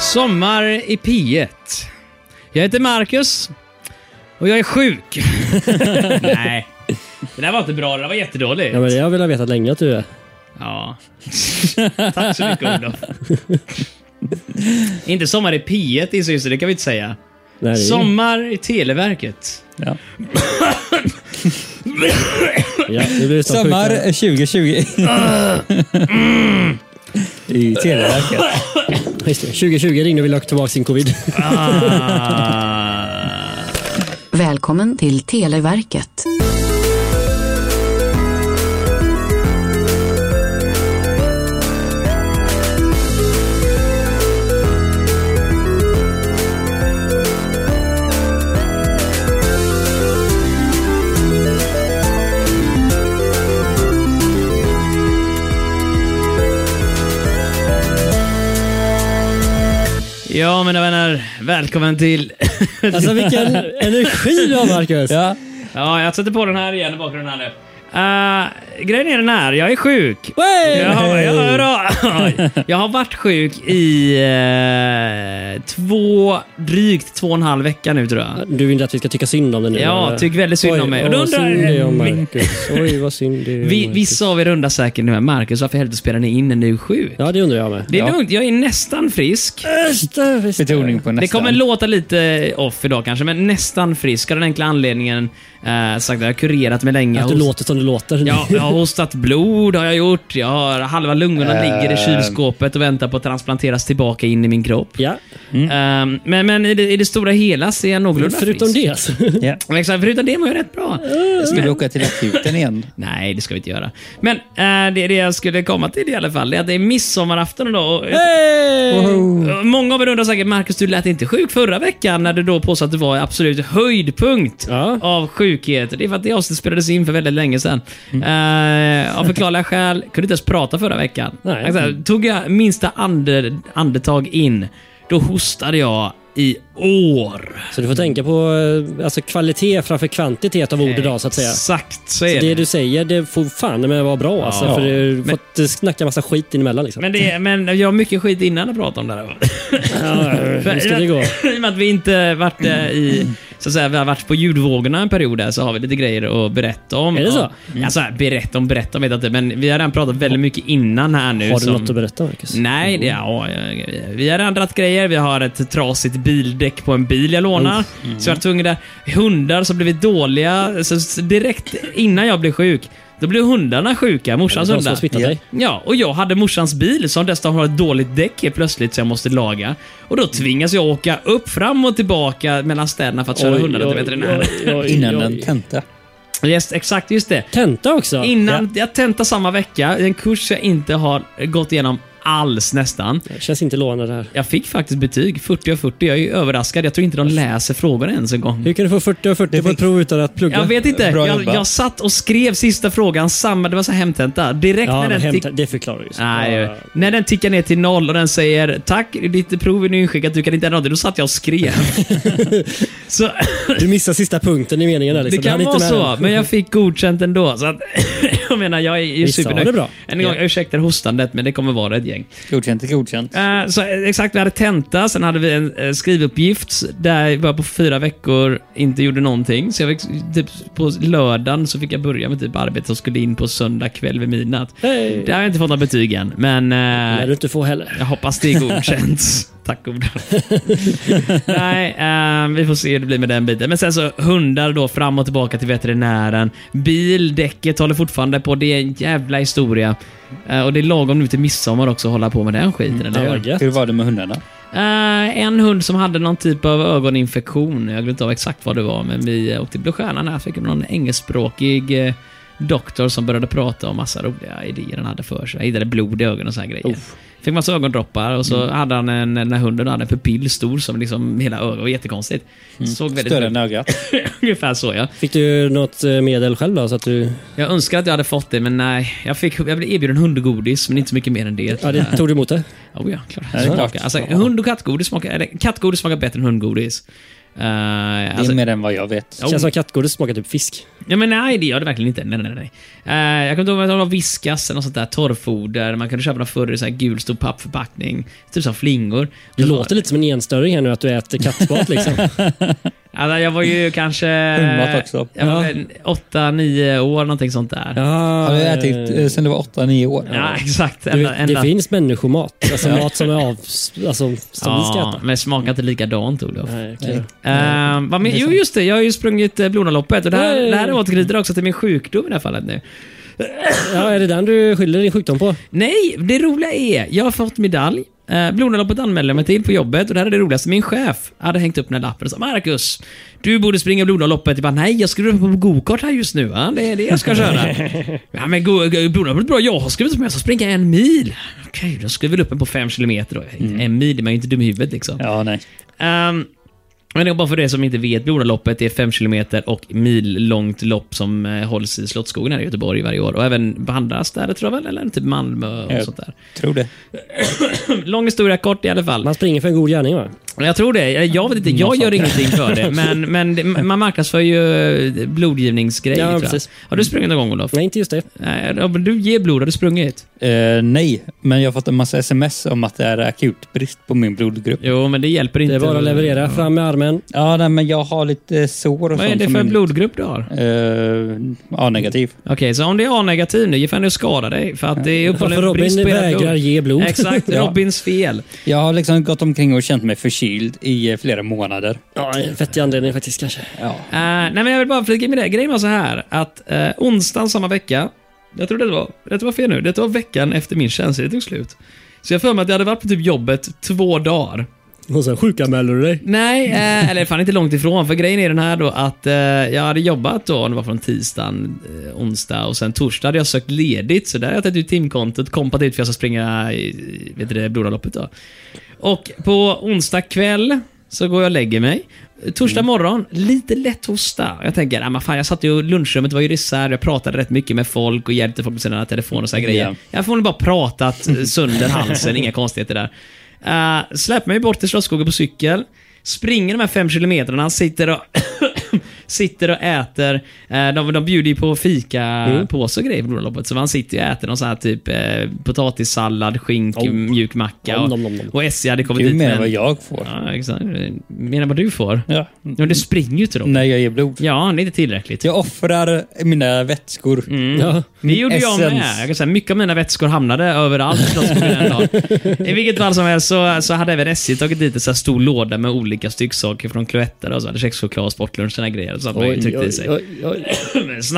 Sommar i P1. Jag heter Marcus och jag är sjuk. Nej, det där var inte bra. Det där var jättedåligt. Ja, men det har jag velat veta länge att du är. Ja. Tack så mycket Olof. inte Sommar i P1 i Syster, det kan vi inte säga. Nej, det är- Sommar i Televerket. Ja. Ja, nu blir det snart Sommar sjukt. 2020. I Televerket. Just det, 2020 ringde och ville ha tillbaka sin covid. Ah. Välkommen till Televerket. Ja, mina vänner. Välkommen till... Alltså vilken energi du har Marcus! Ja. ja, jag sätter på den här igen i bakgrunden här nu. Eh, grejen är den här, jag är sjuk. Wey! Jag har, jag, hurra! jag har varit sjuk i eh, två, drygt två och en halv vecka nu tror jag. Du vill inte att vi ska tycka synd om den nu? Ja, eller? tyck väldigt synd Oj, om mig. Och åh, då undrar- synd det är om Marcus. Oj, vad synd det är om Vi, Marcus. vissa av er undrar säkert nu, här, Marcus, varför i helvete spelar ni in en nu sjuk? Ja, det undrar jag med. Det är Ja. lugnt, jag är nästan frisk. Öster, visst. Betoning på nästan. Det kommer låta lite off idag kanske, men nästan frisk av den enkla anledningen eh, sagt att jag har kurerat mig länge. Att du Host- låter som du låter. Ja, jag har hostat blod har jag gjort. Jag har, halva lungorna Eh. ligger i kylskåpet och väntar på att transplanteras tillbaka in i min kropp. Ja, Eh, men men i, det, i det stora hela ser jag någorlunda förutom frisk. det alltså. Ja. Men Exakt, förutom det mår jag rätt bra. Ska vi åka till akuten igen? Nej, det ska vi inte göra. Men eh, det, det jag skulle komma till i alla fall, det är att det är midsommarafton idag. och- Och Många av er undrar säkert, Marcus, du lät inte sjuk förra veckan när du då påstod att det var absolut höjdpunkt Ja. av sjukhet. Det är för att det avsnittet spelades in för väldigt länge sedan. Eh, av förklarliga skäl kunde inte ens prata förra veckan. Mm. Nej. Alltså, tog jag minsta ande, andetag in, då hostade jag i år. Så du får tänka på eh, alltså, kvalitet framför kvantitet av Eh, ord idag så att säga. Exakt så Så är Alltså, det du säger, det får fan med vara bra alltså. Ja. För du har Men- fått eh, snacka massa skit in emellan liksom. Men, det, men jag har mycket skit innan att prata om det här. Ja, hur ska det gå? I och med att vi inte varit eh, i, så att säga, vi har varit på ljudvågorna en period där, så har vi lite grejer att berätta om. Är det så? Mm. Ja. Alltså, berätta om, berätta om vet jag inte, men vi har redan pratat väldigt mycket innan här nu. Har du som- något att berätta Marcus? Nej, det, ja, vi har ändrat grejer. Vi har ett trasigt bildäck på en bil jag lånar. Mm. Så jag var tvungen där. Hundar som blivit dåliga. Så s- direkt innan jag blev sjuk, då blev hundarna sjuka. Morsans Det är de som har hundar. smittat Ja. dig. Ja, och jag hade morsans bil som dessutom har ett dåligt däck helt plötsligt så jag måste laga. Och då tvingas jag åka upp, fram och tillbaka mellan städerna för att köra Oj, hundarna till oj, veterinären. oj, oj, Innan oj. den tenta. Yes, exakt, just det. Tenta också? Innan jag tentar samma vecka, en kurs jag inte har gått igenom alls nästan. Ja, känns inte lovande det här. Jag fick faktiskt betyg, 40 av 40. Jag är ju överraskad. Jag tror inte de läser frågorna ens en gång. Hur kan du få 40 och 40 på ett prov utan att plugga? Jag vet inte. Bra Jag, jobbat. jag satt och skrev sista frågan samma. Det var så här hemtenta. Direkt Ja, när men den tick- hämta, det förklarar ju. sig. Nej, Ja. När den tickar ner till noll och den säger tack, ditt prov är nu inskickat, du kan inte ändra det. Då satt jag och skrev. så Du missar sista punkten i meningen där. det Liksom. kan Du hann vara inte med så, den. men jag fick godkänt ändå. Så att, jag menar, jag är ju Vissa har supernöjd. det bra. En gång, Ja. jag ursäktar hostandet, men det kommer vara ett gäng. Godkänt är godkänt. Eh, så eh, exakt, vi hade tenta, sen hade vi en eh, skrivuppgift där jag bara på fyra veckor inte gjorde någonting. Så jag fick, typ, på lördagen så fick jag börja med typ arbete och skulle in på söndag kväll vid midnatt. Hej. Det har jag inte fått några betyg än, men eh, Nej, du inte får heller. jag hoppas det är godkänt. Tack goda. Nej, eh, vi får se hur det blir med den biten. Men sen så hundar då fram och tillbaka till veterinären. Bil, däcket håller fortfarande på. Det är en jävla historia. Eh, och det är lagom nu till midsommar också att hålla på med den skiten, eller Ja, hur? vad gött. Hur var det med hundarna? Eh, en hund som hade någon typ av ögoninfektion. Jag glömde inte av exakt vad det var, men vi åkte till Blå Stjärnan här. Fick någon engelskspråkig eh, doktor som började prata om massa roliga idéer han hade för sig. Han hittade blod i ögonen och såna här grejer. Fick massa ögondroppar och så hade han en, den här hunden hade en pupill stor som liksom hela ögat var jättekonstigt. Såg väldigt... Större än ögat. Ungefär så ja. Fick du något eh, medel själv då? Så att du... Jag önskar att jag hade fått det, men nej. Jag, fick, jag blev erbjuden hundgodis, men inte så mycket mer än det. Ja, det, tog du emot det? Oh ja, klart. Ja, det är Smakar. klart. Alltså, hund och kattgodis smakar, eller, kattgodis smakar bättre än hundgodis. Eh, Det alltså, är mer än vad jag vet. Jo. Känns som kattgodis smakar typ fisk. ja, men nej, det gör det verkligen inte. Nej, nej, nej. Eh, jag kommer inte ihåg att det var viskas eller något sånt där torrfoder. Man kunde köpa dem förr i så här gul stor pappförpackning. Typ som flingor. Du Så- låter lite som en enstöring här nu att du äter kattmat liksom. Alltså, jag var ju kanske... Hundmat också. Jag var väl åtta, nio år, någonting sånt där. Ja, Ja, typ, Har du ätit eh, sen du var 8-9 år? exakt. Du Ända, vet, det ända. finns människomat. Alltså mat som är av... Alltså, som vi ska Ja, äta. Eh, men smakar inte likadant, Olof. Nej, okej. Nej. Ehm, vad men, jo, just det. Jag har ju sprungit eh, Blodanloppet och det här, Nej. det här återknyter också till min sjukdom i det här fallet nu. Ja, är det den du skyller din sjukdom på? Nej, det roliga är, jag har fått medalj. Eh, Blodanloppet anmälde jag mig till på jobbet och det här är det roligaste. Min chef hade hängt upp den här lappen och sa Marcus, du borde springa Blodanloppet. Jag bara, nej, jag skriver på gokart här just nu. Va? Det är det jag ska köra. ja, men go- go- Blodanloppet är bra. Jag har skrivit upp mig, jag ska springa en mil. Okej, då skriver vi upp en på fem kilometer. Då. En mil, man är ju inte dum i huvudet liksom. Ja, nej. Ehm, men det är bara för det som inte vet, Blodanloppet är 5 km och mil långt lopp som eh, hålls i Slottsskogen här i Göteborg varje år. Och även på andra städer tror jag väl, eller typ Malmö och Ja. sånt där. Tror det. Lång historia kort i alla fall. Man springer för en god gärning va? Jag tror det. Jag- Jag vet inte, jag gör ingenting för det. Men, men det- man marknadsför ju eh, blodgivningsgrejer. Ja, tror jag. precis. Har du sprungit någon gång Olof? Nej, inte just det. Nej. ja, men Du ger blod, har du sprungit? Eh, nej, men jag har fått en massa sms om att det är akut brist på min blodgrupp. Jo, men det hjälper Det inte. är bara att leverera. Fram med armen. Ja, nej, men jag har lite sår och Vad är sånt. det som för min- blodgrupp du har? Eh, A-negativ. Okej, så om det är A-negativ nu, ge fan i att skada dig. För att det är För uppenbarligen brist Robin på era vägrar blod. ge blod. Exakt, Ja. Robins fel. Jag har liksom gått omkring och känt mig förkyld i eh, flera månader. Ja, en vettig anledning faktiskt kanske. Ja. Eh, nej, men jag vill bara flika med det. Grejen var så här att uh, onsdagen samma vecka, jag tror det var, det var fel nu, det var veckan efter min tjänstledighet tog slut. Så jag har för mig att jag hade varit på typ jobbet två dagar. Och sen sjukanmäler du dig. Nej, eh, eller fan inte långt ifrån. För grejen är den här då att eh, jag hade jobbat då, det var från tisdagen, eh, onsdag och sen torsdag hade jag sökt ledigt. Så där har jag tagit ut timkontot, kompat ut för jag ska springa i, i- vet du det, blodanloppet då. Och på onsdag kväll så går jag och lägger mig. Torsdag morgon, lite lätt hosta. Jag tänker, ah, men fan, jag satt ju i lunchrummet, var ju isär, jag pratade rätt mycket med folk och hjälpte folk med sina telefoner och såna grejer. Ja. Jag har förmodligen bara pratat eh, sönder halsen, inga konstigheter där. Uh, släpper mig bort till Slottsskogen på cykel, springer de här fem kilometrarna, sitter och, sitter och äter. Eh, de, de bjuder ju på fika påse och grejer på Blodomloppet, så man sitter ju och äter någon sån här typ eh, potatissallad, skink, Oh. mjuk macka. Om, Och, om, om, om. och SJ hade kommit Du dit menar med vad en- jag får? Ja, exakt. Menar vad du får? Ja. Men du springer ju till dem. När jag ger blod. Ja, det är inte tillräckligt. Jag offrar mina vätskor. Ja. Det gjorde jag med. essens. Jag kan säga, mycket av mina vätskor hamnade överallt i Slottsskogen den dagen. I vilket fall som helst så, så hade även SJ tagit dit en så här stor låda med olika stycksaker från Cloetta. och så hade kexchoklad och sportlunch och såna grejer. och Så att man ju tryckte i sig. oj, oj.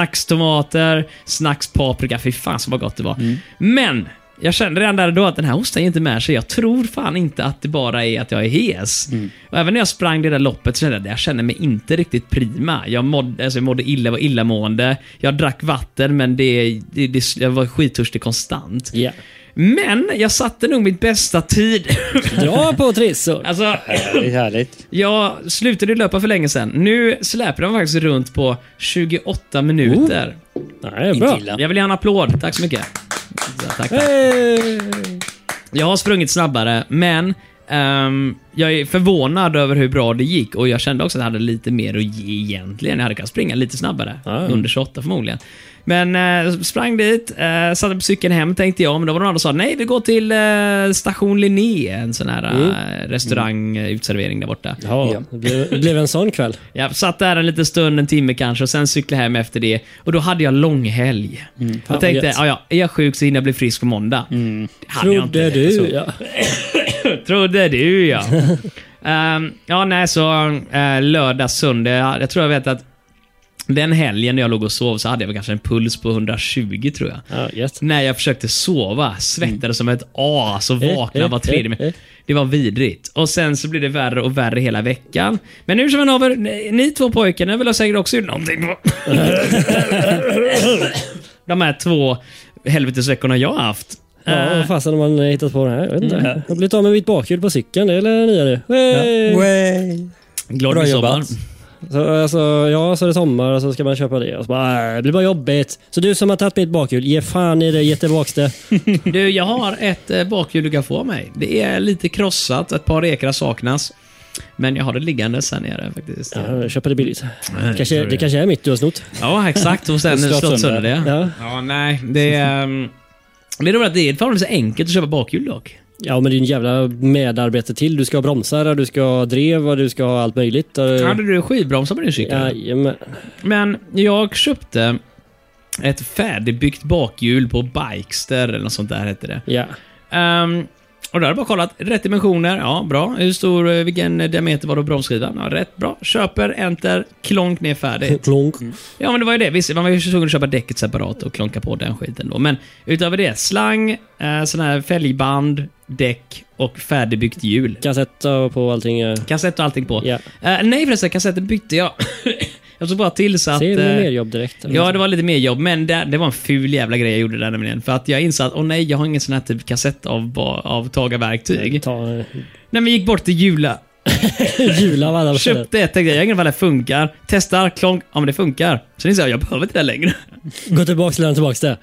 Snackstomater, snackspaprika. Fy fan så vad gott det var. Men! Jag kände redan där och då att den här osten är inte med sig. Jag tror fan inte att det bara är att jag är hes. Och även när jag sprang det där loppet så kände jag att jag kände mig inte riktigt prima. Jag mådde, alltså jag mådde illa, var illamående. Jag drack vatten men det, det, det, jag var skittörstig konstant. Ja. Men jag satte nog mitt bästa tid. Dra på trissor. alltså, Härligt, härligt. jag slutade löpa för länge sedan. Nu släpper de faktiskt runt på 28 minuter. Nej, Inte bra. illa. Jag vill ge en applåd. Tack så mycket. Ja, Tack, tack. Hey. Jag har sprungit snabbare, men ehm, jag är förvånad över hur bra det gick och jag kände också att jag hade lite mer att ge egentligen. Jag hade kunnat springa lite snabbare. Ja. Under 28 förmodligen. Men eh, sprang dit, eh, satte på cykeln hem tänkte jag, men då var det någon annan som sa nej, vi går till eh, station Linné, en sån här eh, restaurang, eh, utservering där borta. Mm. Ja, det blev, det blev en sån kväll. Jag satt där en liten stund, en timme kanske, och sen cyklade jag hem efter det. Och då hade jag långhelg. Mm, Fan, Jag tänkte, vad gött. Mm. ja, ja, är jag sjuk så hinner jag bli frisk på måndag. Det hade jag Trodde inte. du. Ja. Trodde du ja. Ehm, ja, nej, så eh, lördag, söndag. Jag, jag tror jag vet att den helgen när jag låg och sov så hade jag väl kanske en puls på 120 tror jag. Ja, gött. När jag försökte sova, svettades som ett as och vaknade var tredje minut. Det var vidrigt. Och sen så blev det värre och värre hela veckan. Men nu som en av er, ni- ni två pojkarna vill ha säkert också gjort någonting. på- De här två helvetesveckorna jag har haft. Ja, Eh. vad fasen har man hittat på det här? Jag vet inte. Mm. Jag har blivit av med mitt bakhjul på cykeln. Det är väl nyare. Hey. Way. Glad Bra midsommar. jobbat. Så, alltså, ja, så är det sommar och så ska man köpa det. Och så bara, äh, det blir bara jobbigt. Så du som har tagit mitt bakhjul, ge fan i det, ge tillbaks det. Du, jag har ett eh, bakhjul du kan få av mig. Det är lite krossat, ett par ekrar saknas. Men jag har det liggande här nere faktiskt. Ja, köpa det billigt. Kanske, sorry. det kanske är mitt du har snott. Ja, exakt. Och sen Och slått slått sönder sönder. det. Ja. Ja, nej. Det är... ehm, Men det är roligt att det är förhållandevis enkelt att köpa bakhjul dock. Ja, men det är en jävla medarbete till. Du ska ha bromsar, och du ska ha drev och du ska ha allt möjligt. Och- Hade du skivbromsar på din cykel? Jajamän. Men jag köpte ett färdigbyggt bakhjul på Bikester eller något sånt där hette det. Ja. Ehm, och då har jag bara kollat. Rätt dimensioner, ja bra. Hur stor, eh, vilken eh, diameter var då bromsskivan? Ja, rätt bra. Köper, enter, klonk ner färdigt. Plonk. Ja men det var ju det. Visst, man var ju tvungen att köpa däcket separat och klonka på den skiten då. Men utöver det, slang, eh, sån här fälgband, däck och färdigbyggt hjul. Kassett och på allting. eh, Kassett och allting på. Ja. Eh, nej förresten, kassetten bytte jag. jag såg bara till så att... Ser vi eh, mer jobb liksom? direkt? eller? Ja, det var lite mer jobb, men det, det var en ful jävla grej jag gjorde där nämligen. För att jag insåg att, åh nej, jag har ingen sån här typ kassett av, ba- av tagarverktyg. Ta eh, Nej, men gick bort till Jula, jula av alla ställen. köpte ett, tänkte jag, jag har ingen aning om det här funkar. Testar, klonk, ja men det funkar. Sen insåg jag, jag behöver inte det här längre. Gå tillbaks till den tillbaks det. jag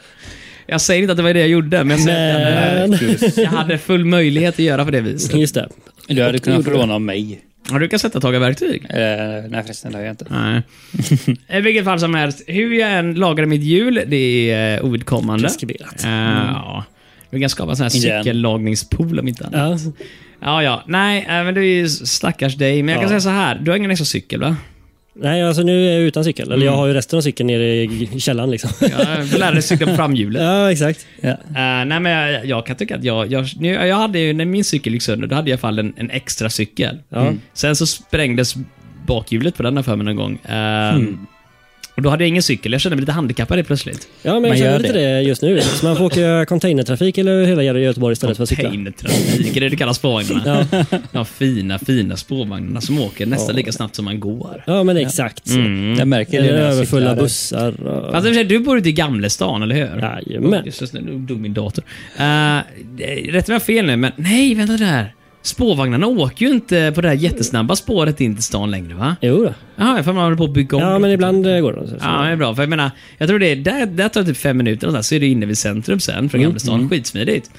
Jag säger inte att det var det jag gjorde, men jag, säger att Men- jag, hade- jag hade full möjlighet att göra på det viset. Just det. Du hade gjorde kunnat det. få låna av mig. Har du kassettagarverktyg? Eh, nej förresten, det har jag inte. Nej. I vilket fall som helst, hur jag än lagade mitt hjul, det är eh, ovidkommande. Preskriberat. Eh, Ja. Vi kan skapa en sån här Igen. cykellagningspool om inte annat. Ja. Ja, ja. Nej, eh, men det är ju stackars dig. Men jag kan Ja. säga så här. Du har ingen extra cykel, va? Nej, alltså nu är jag utan cykel. Eller jag har ju resten av cykeln nere i källaren liksom. Ja, du lärde dig cykla på framhjulet. Ja, exakt. Ja. Eh, nej, men jag, jag kan tycka att jag... jag, nu, jag hade ju, när min cykel gick sönder, då hade jag i alla fall en, en extra cykel. Ja. Sen så sprängdes bakhjulet på den här för mig någon gång. Eh, Och då hade jag ingen cykel. Jag kände mig lite handikappad helt plötsligt. Ja, men Man jag gör känner lite det just nu. Så man får åka containertrafik eller hela jävla Göteborg istället för att cykla. Containertrafik, det är det det kallas spårvagnarna. Ja. fina, fina spårvagnarna som åker nästan lika snabbt som man går. Ja, men exakt. Jag märker Mm. Eller det när jag cyklar överfulla här. bussar. Och... Fast Alltså, i och för sig, du bor ute i Gamlestan, eller hur? Jajamän. Just det, nu dog min dator. Uh, rätt mig om jag har fel nu, men nej, vänta där. Spårvagnarna åker ju inte på det här jättesnabba spåret in till stan längre, va? Jo då. Jaha, jag får man håller på att bygga om. Ja, men ibland eh, går det. Så. Ja, det är bra. För jag menar, jag tror det är, där, där tar det typ fem minuter och så, här, så är du inne vid centrum sen från Gamlestan. Mm. Skitsmidigt.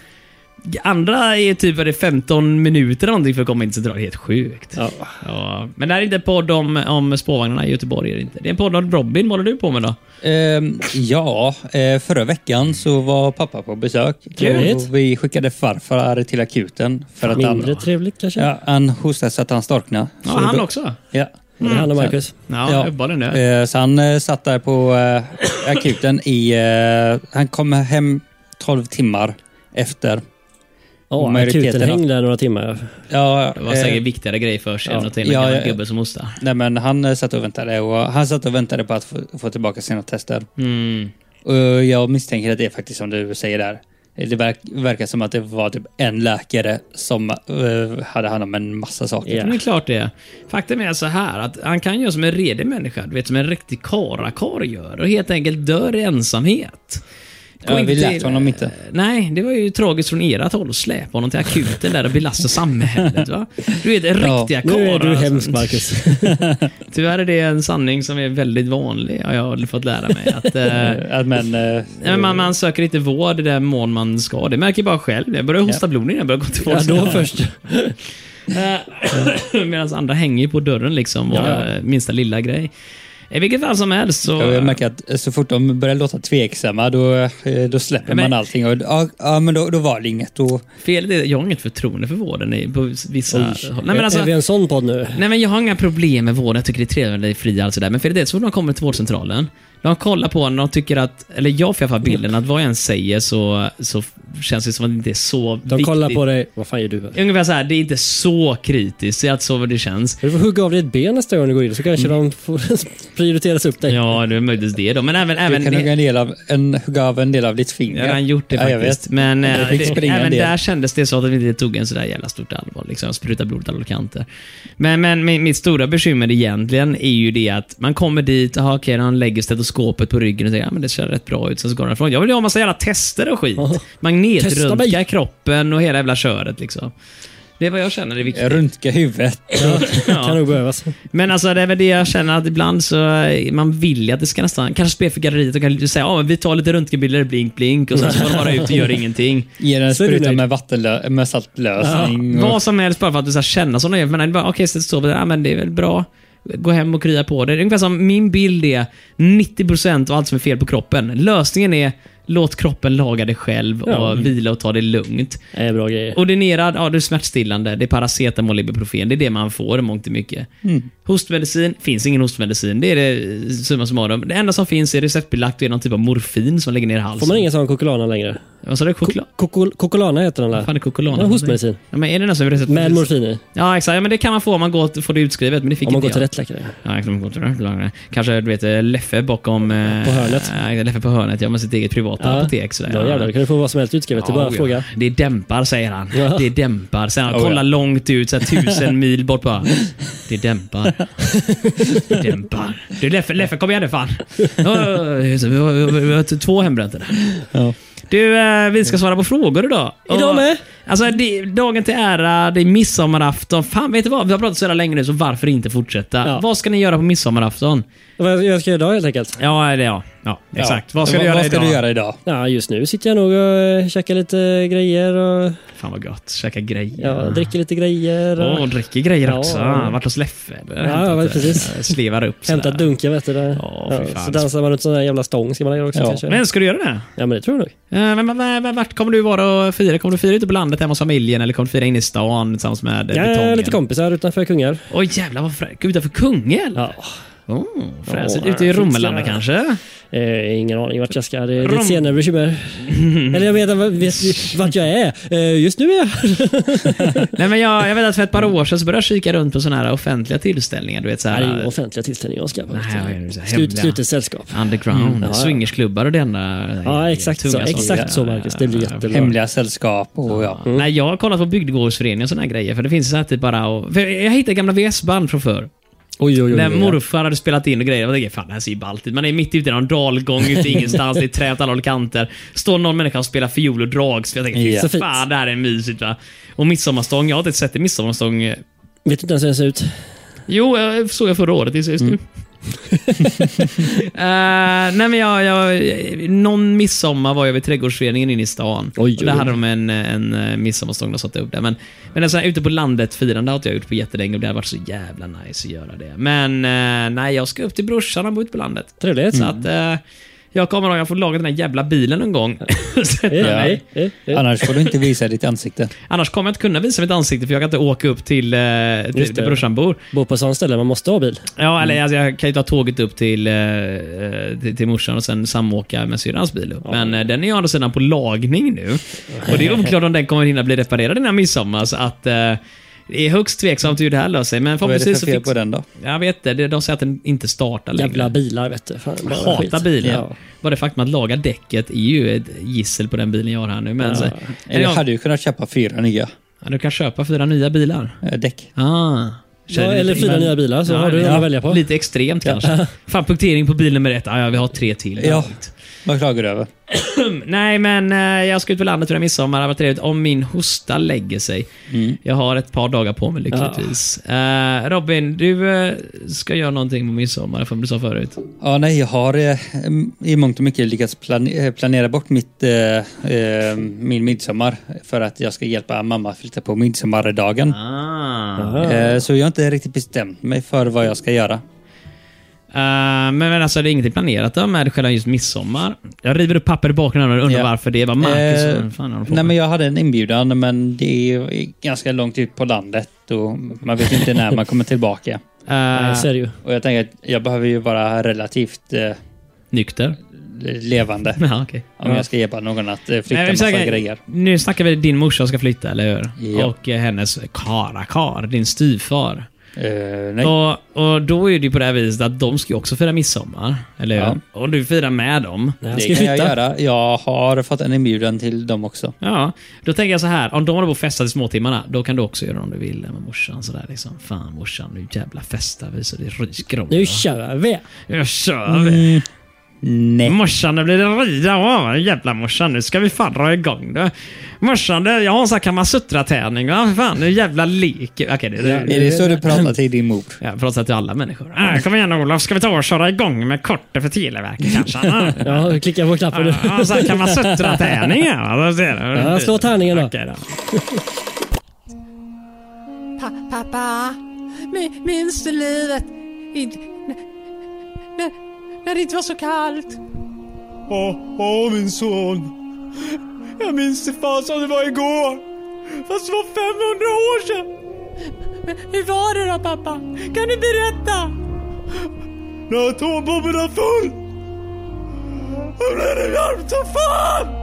Andra är typ är det 15 minuter eller någonting för att komma in till centralen. Helt sjukt. Ja. Ja, men det här är inte en podd om, om spårvagnarna i Göteborg. Är det, inte. det är en podd om Robin. Vad håller du på med då? Ehm, ja, eh, förra veckan så var pappa på besök. Trevligt. Och vi skickade farfar till akuten. För att Mindre han, trevligt kanske. ja, han hostade så att han storknade. Ja, Så han då- också. Ja. Det handlar Mm. om Marcus. Ja, Ja. uppenbarligen det. Eh, Så han eh, satt där på eh, akuten i... eh, Han kom hem 12 timmar efter. Ja, Majoriteten akuten häng där några timmar. Ja, Det var eh, säkert viktigare grejer för sig ja. än att ta in en Ja, gammal ja, ja. gubbe som hostar. Nej, men han eh, satt och väntade och han satt och väntade på att få, få tillbaka sina tester. Mm. Och jag misstänker att det är faktiskt som du säger där. Det verk, verkar som att det var typ en läkare som eh, hade hand om en massa saker. Ja. Men det är klart det. Faktum är så här att han kan göra som en redig människa, du vet som en riktig karakar gör och helt enkelt dör i ensamhet. Ja, Gå vi inte lät till- honom inte. Nej, det var ju tragiskt från ert håll att släpa honom till akuten där och belasta samhället. Va? Du vet, riktiga Nu karlar. är du alltså. hemsk Marcus. Tyvärr är det en sanning som är väldigt vanlig, har jag fått lära mig. Att, eh, Eh, att men, eh, Nej, men man, man söker inte vård i den mån man ska. Det märker jag bara själv. Jag börjar hosta blod innan jag börjar gå till Ja, vård. då först. Medan Eh, andra hänger ju på dörren liksom. Och, Ja. eh, Minsta lilla grej. I vilket fall som helst så... jag märker att eh, så fort de börjar låta tveksamma då, eh, då släpper Men- man allting. Och, ja, ja, men då, då var det inget. Då, Felet är att jag har inget förtroende för vården i- på vissa håll. Nej, men alltså, Är vi en sån podd nu? Nej men jag har inga problem med vården, jag tycker det är trevligt, det är fri och allt sådär. Men för det är det, så fort man kommer till vårdcentralen, de kollar på en och de tycker att, eller jag får i alla fall bilden att vad jag än säger så, så känns det som att det inte är så De viktigt. kollar på dig. Vad fan gör du här? Ungefär så här, det är inte så kritiskt, det är alltså vad det känns. Du får hugga av dig ett ben nästa gång du går in så kanske de får prioriteras upp dig. Mm. Ja, det är möjligtvis det då. Men även... du även kan hugga, en del av, en, hugga av en del av ditt jag finger. har redan gjort det Ja, jag faktiskt. vet. men eh, Jag fick det, springa en även del. där kändes det så att vi inte tog en sådär jävla stort allvar. Liksom, spruta blod åt alla kanter. Men, men mi- mitt stora bekymmer egentligen är ju det att man kommer dit, aha, okej, han lägger stetoskopet på ryggen och säger ja, men det ser rätt bra ut. Sen så går han ifrån. Jag vill ju ha massa jävla tester och skit. Ja. Magnetröntga Testa mig. kroppen och hela jävla köret. Liksom. Det är vad jag känner är viktigt. Röntga huvudet. Ja. Kan nog behövas. Men alltså det är väl det jag känner att ibland så eh, man vill ju att det ska nästan, kanske spel för galleriet och kan säga ja men vi tar lite röntgenbilder, blink blink och sen så går de bara ut och gör ingenting. Ge den en Så är du spruta nöjd. med, vattenlö- med Mm. saltlösning. och- Vad som helst bara för att du ska känna sådana grejer. Men det är bara, okej, så det står på det, ja, men det är väl bra. Gå hem och krya på det. Det är ungefär som min bild är 90% av allt som är fel på kroppen. Lösningen är låt kroppen laga det själv och Ja. vila och ta det lugnt. Det är bra grejer. Ordinerad, ja det är smärtstillande, det är paracetamol, ibuprofen. Det är det man får i mångt och mycket. Mm. Hostmedicin, finns ingen hostmedicin. Det är det eh, summa summarum. Det enda som finns är receptbelagt och är någon typ av morfin som lägger ner halsen. Får man ingen sån kokolana längre? Vad sa du? Choklad? Kokol- Kokolana heter den Fan, där. det är kokolana. Ja, hostmedicin. Ja, men är det den som är receptbelagt? Med morfin i. Ja, exakt. Ja, men det kan man få om man går, får det utskrivet. Men det fick Om man inte går till jag. rätt läkare. Ja, exakt, om man går till rätt lagare. Kanske du vet, eh, Leffe bakom... eh, På hörnet. eh, Leffe på hörnet, ja. Med sitt eget privata Ja. apotek. Sådär. Då jävlar, då kan du få vad som helst utskrivet. Det är bara att ja. fråga. Det dämpar, säger han. Ja. Det dämpar. Sen han Oh, ja. kollar långt ut, så här, tusen mil bort bara. Det dämpar. Det dämpar. Du Leffe, Leffe kom igen nu fan. Ja, just det, Vi har, vi har, vi har två hembräntor där. Ja. Du, eh, vi ska svara på frågor idag. Idag Och- med. Alltså, det, dagen till ära, det är midsommarafton. Fan, vet du vad? Vi har pratat så jävla länge nu, så varför inte fortsätta? Ja. Vad ska ni göra på midsommarafton? Vad jag ska göra idag helt enkelt? Ja, eller ja. Ja, exakt. Vad ska, vad, du, göra vad ska idag? du göra idag? Ja, just nu sitter jag nog och eh, käkar lite grejer och Fan vad gott. Käka grejer. ja, dricker lite grejer. Åh, Och hon dricker grejer Ja. också. Ja. Vart hos Leffe. eller? Ja, Hämtat, väl precis. eh, Slevar upp sådär. Hämtar dunken vet du. Där. Ja, fy ja, fan. så dansar man runt sån där jävla stång ska man göra också Ja. kanske. Men ska du göra det? Ja, men det tror jag nog. Eh, Men, men, men, men, vart kommer du vara och fira? Kommer du fira ute på landet hemma hos familjen eller kommer du fira inne i stan tillsammans med eh, Ja, betongen? lite kompisar utanför Kungälv. Åh jävlar vad fräscht. Utanför Kungälv? Ja, Oh, fräsigt. Ja, ute i fixa. Romelanda kanske? eh, ingen aning vart jag ska. Det är lite Rom- senare bekymmer. Eller jag vet, vad- vet vart jag är. Eh, just nu är jag Nej, men jag, jag vet att för ett par år sedan så började jag kika runt på sådana här offentliga tillställningar. Du vet så Nej, det är här, inga offentliga tillställningar jag ska på. Nej, vad är det så här, Slut, hemliga? slutet sällskap. underground, Mm, ja, ja. swingersklubbar och det enda. Ja, exakt så. tunga saker. Exakt så, Marcus. Det blir jättebra. Mm. Hemliga sällskap och ja. Nej, jag har kollat på bygdegårdsföreningar och såna här grejer. För det finns så här typ bara... Och, för jag hittade gamla VS-band från förr. Oj, oj, oj. När oj, oj. morfar hade spelat in och grejer. Jag tänkte, fan det här ser ju ballt ut. Man är mitt ute i någon dalgång ute i ingenstans. Det är trä åt alla håll och kanter. Står någon människa och spelar fiol och dragspel. Jag Ja. tänkte, Så fy fint. fan det här är mysigt va. Och midsommarstång. Jag har inte sett en midsommarstång. eh, Vet inte ens hur den ser ut. Jo, jag såg jag förra året. Det är just nu. Mm. Eh, nej men jag, jag, någon midsommar var jag vid trädgårdsföreningen inne i stan. Oj, och där oj. hade de en, en eh, midsommarstång de satte upp där. Men, men alltså, ute på landet firande har inte jag gjort på jättelänge och det har varit så jävla nice att göra det. Men eh, nej, jag ska upp till brorsan, han bor ute på landet. Trevligt. Så att eh, jag kommer ihåg, jag får laga den här jävla bilen en gång. Sätta Eh, mig. eh, eh, eh. Mm. Annars får du inte visa ditt ansikte. Annars kommer jag inte kunna visa mitt ansikte för jag kan inte åka upp till, eh, till, Just till det. brorsan bor. Bor på sån ställe man måste ha bil. Ja, Mm. eller alltså, jag kan ju ta tåget upp till, eh, eh, till, till morsan och sen samåka med syrrans bil upp. Men eh, den är ju å andra sidan på lagning nu. Och det är oklart om den kommer hinna bli reparerad innan midsommar. Så att, eh, det är högst tveksamt hur det här löser sig. Men Vad är det förhoppningsvis för så fel fixar... på den då? Jag vet inte, det. De säger att den inte startar längre. Jävla bilar vet du. Fan, Jag bara hatar skit. bilen. Ja. Bara det faktum att laga däcket är ju ett gissel på den bilen jag har här nu. Men, så, Eller jag hade ju kunnat köpa fyra nya ja, du kan köpa fyra nya bilar. eh, däck. Ah. Ja, eller fyra Men- nya bilar så Ja, har du ja. en att välja på. Lite extremt kanske. Fan, punktering på bil nummer ett. Ah, ja, vi har tre till. Ja. Vad klagar du över? Nej, men eh, jag ska ut på landet för midsommar. Det hade varit trevligt om min hosta lägger sig. Jag har ett par dagar på mig lyckligtvis. Eh, Robin, du eh, ska göra någonting på midsommar, som du sa förut. Ja, nej, jag har eh, i mångt och mycket lyckats plane- eh, planera bort mitt, eh, eh, min midsommar för att jag ska hjälpa mamma att flytta på midsommardagen. Ah. Aha. Eh, så jag har inte riktigt bestämt mig för vad jag ska göra. Eh, men, men alltså, det är ingenting planerat då med själva just midsommar. Jag river upp papper i bakgrunden och undrar Ja. varför det var Marcus. Eh, vad fan har de på nej, med? men jag hade en inbjudan, men det är ganska långt ut på landet och man vet inte när man kommer tillbaka. Eh, Nej, så är det ju. Och jag tänker att jag behöver ju vara relativt eh, nykter? levande Ja, okej. om jag ska hjälpa någon att eh, flytta Nej, vi massa snackar- grejer. Nu snackar vi din morsa ska flytta, eller hur? Ja. Och eh, hennes karakar, din styvfar. Eh, nej. Och, och då är det ju på det här viset att de ska ju också fira midsommar. Eller hur? Ja. Och du firar med dem. Nej, han Det ska ju kan jag flytta. göra. Jag har fått en inbjudan till dem också. Ja, då tänker jag så här. Om de håller på och festar till småtimmarna, då kan du också göra det om du vill med morsan. Sådär liksom. Fan morsan, nu jävla festar vi så det ryker om. Nu va? kör vi! Nu kör vi. Nej. Morsan, det blir en rida av. Jävla morsan, nu ska vi fan dra igång det. Morsan, det- jag har en sån här Kamasutra-träning. Va? Fan, nu jävla leker Okej, det, det, Är det så du Mm. pratar till din mor? Jag pratar till alla människor. Äh, kom igen Olof, ska vi ta och köra igång med kortet för Televerket kanske? Ja, Ja, klicka på knappen. Ja, så här kan man suttra tärningar. va? Då ser du. Ja, slå tärningen då. Okej då. Pa pappa, mi- minns du livet? Inte, när, när det inte var så kallt? Åh, åh min son. Jag minns det fan som det var igår. Fast det var 500 år sedan. Men hur var det då pappa? Kan du berätta? När atombomben var full. Då blev det varmt som fan.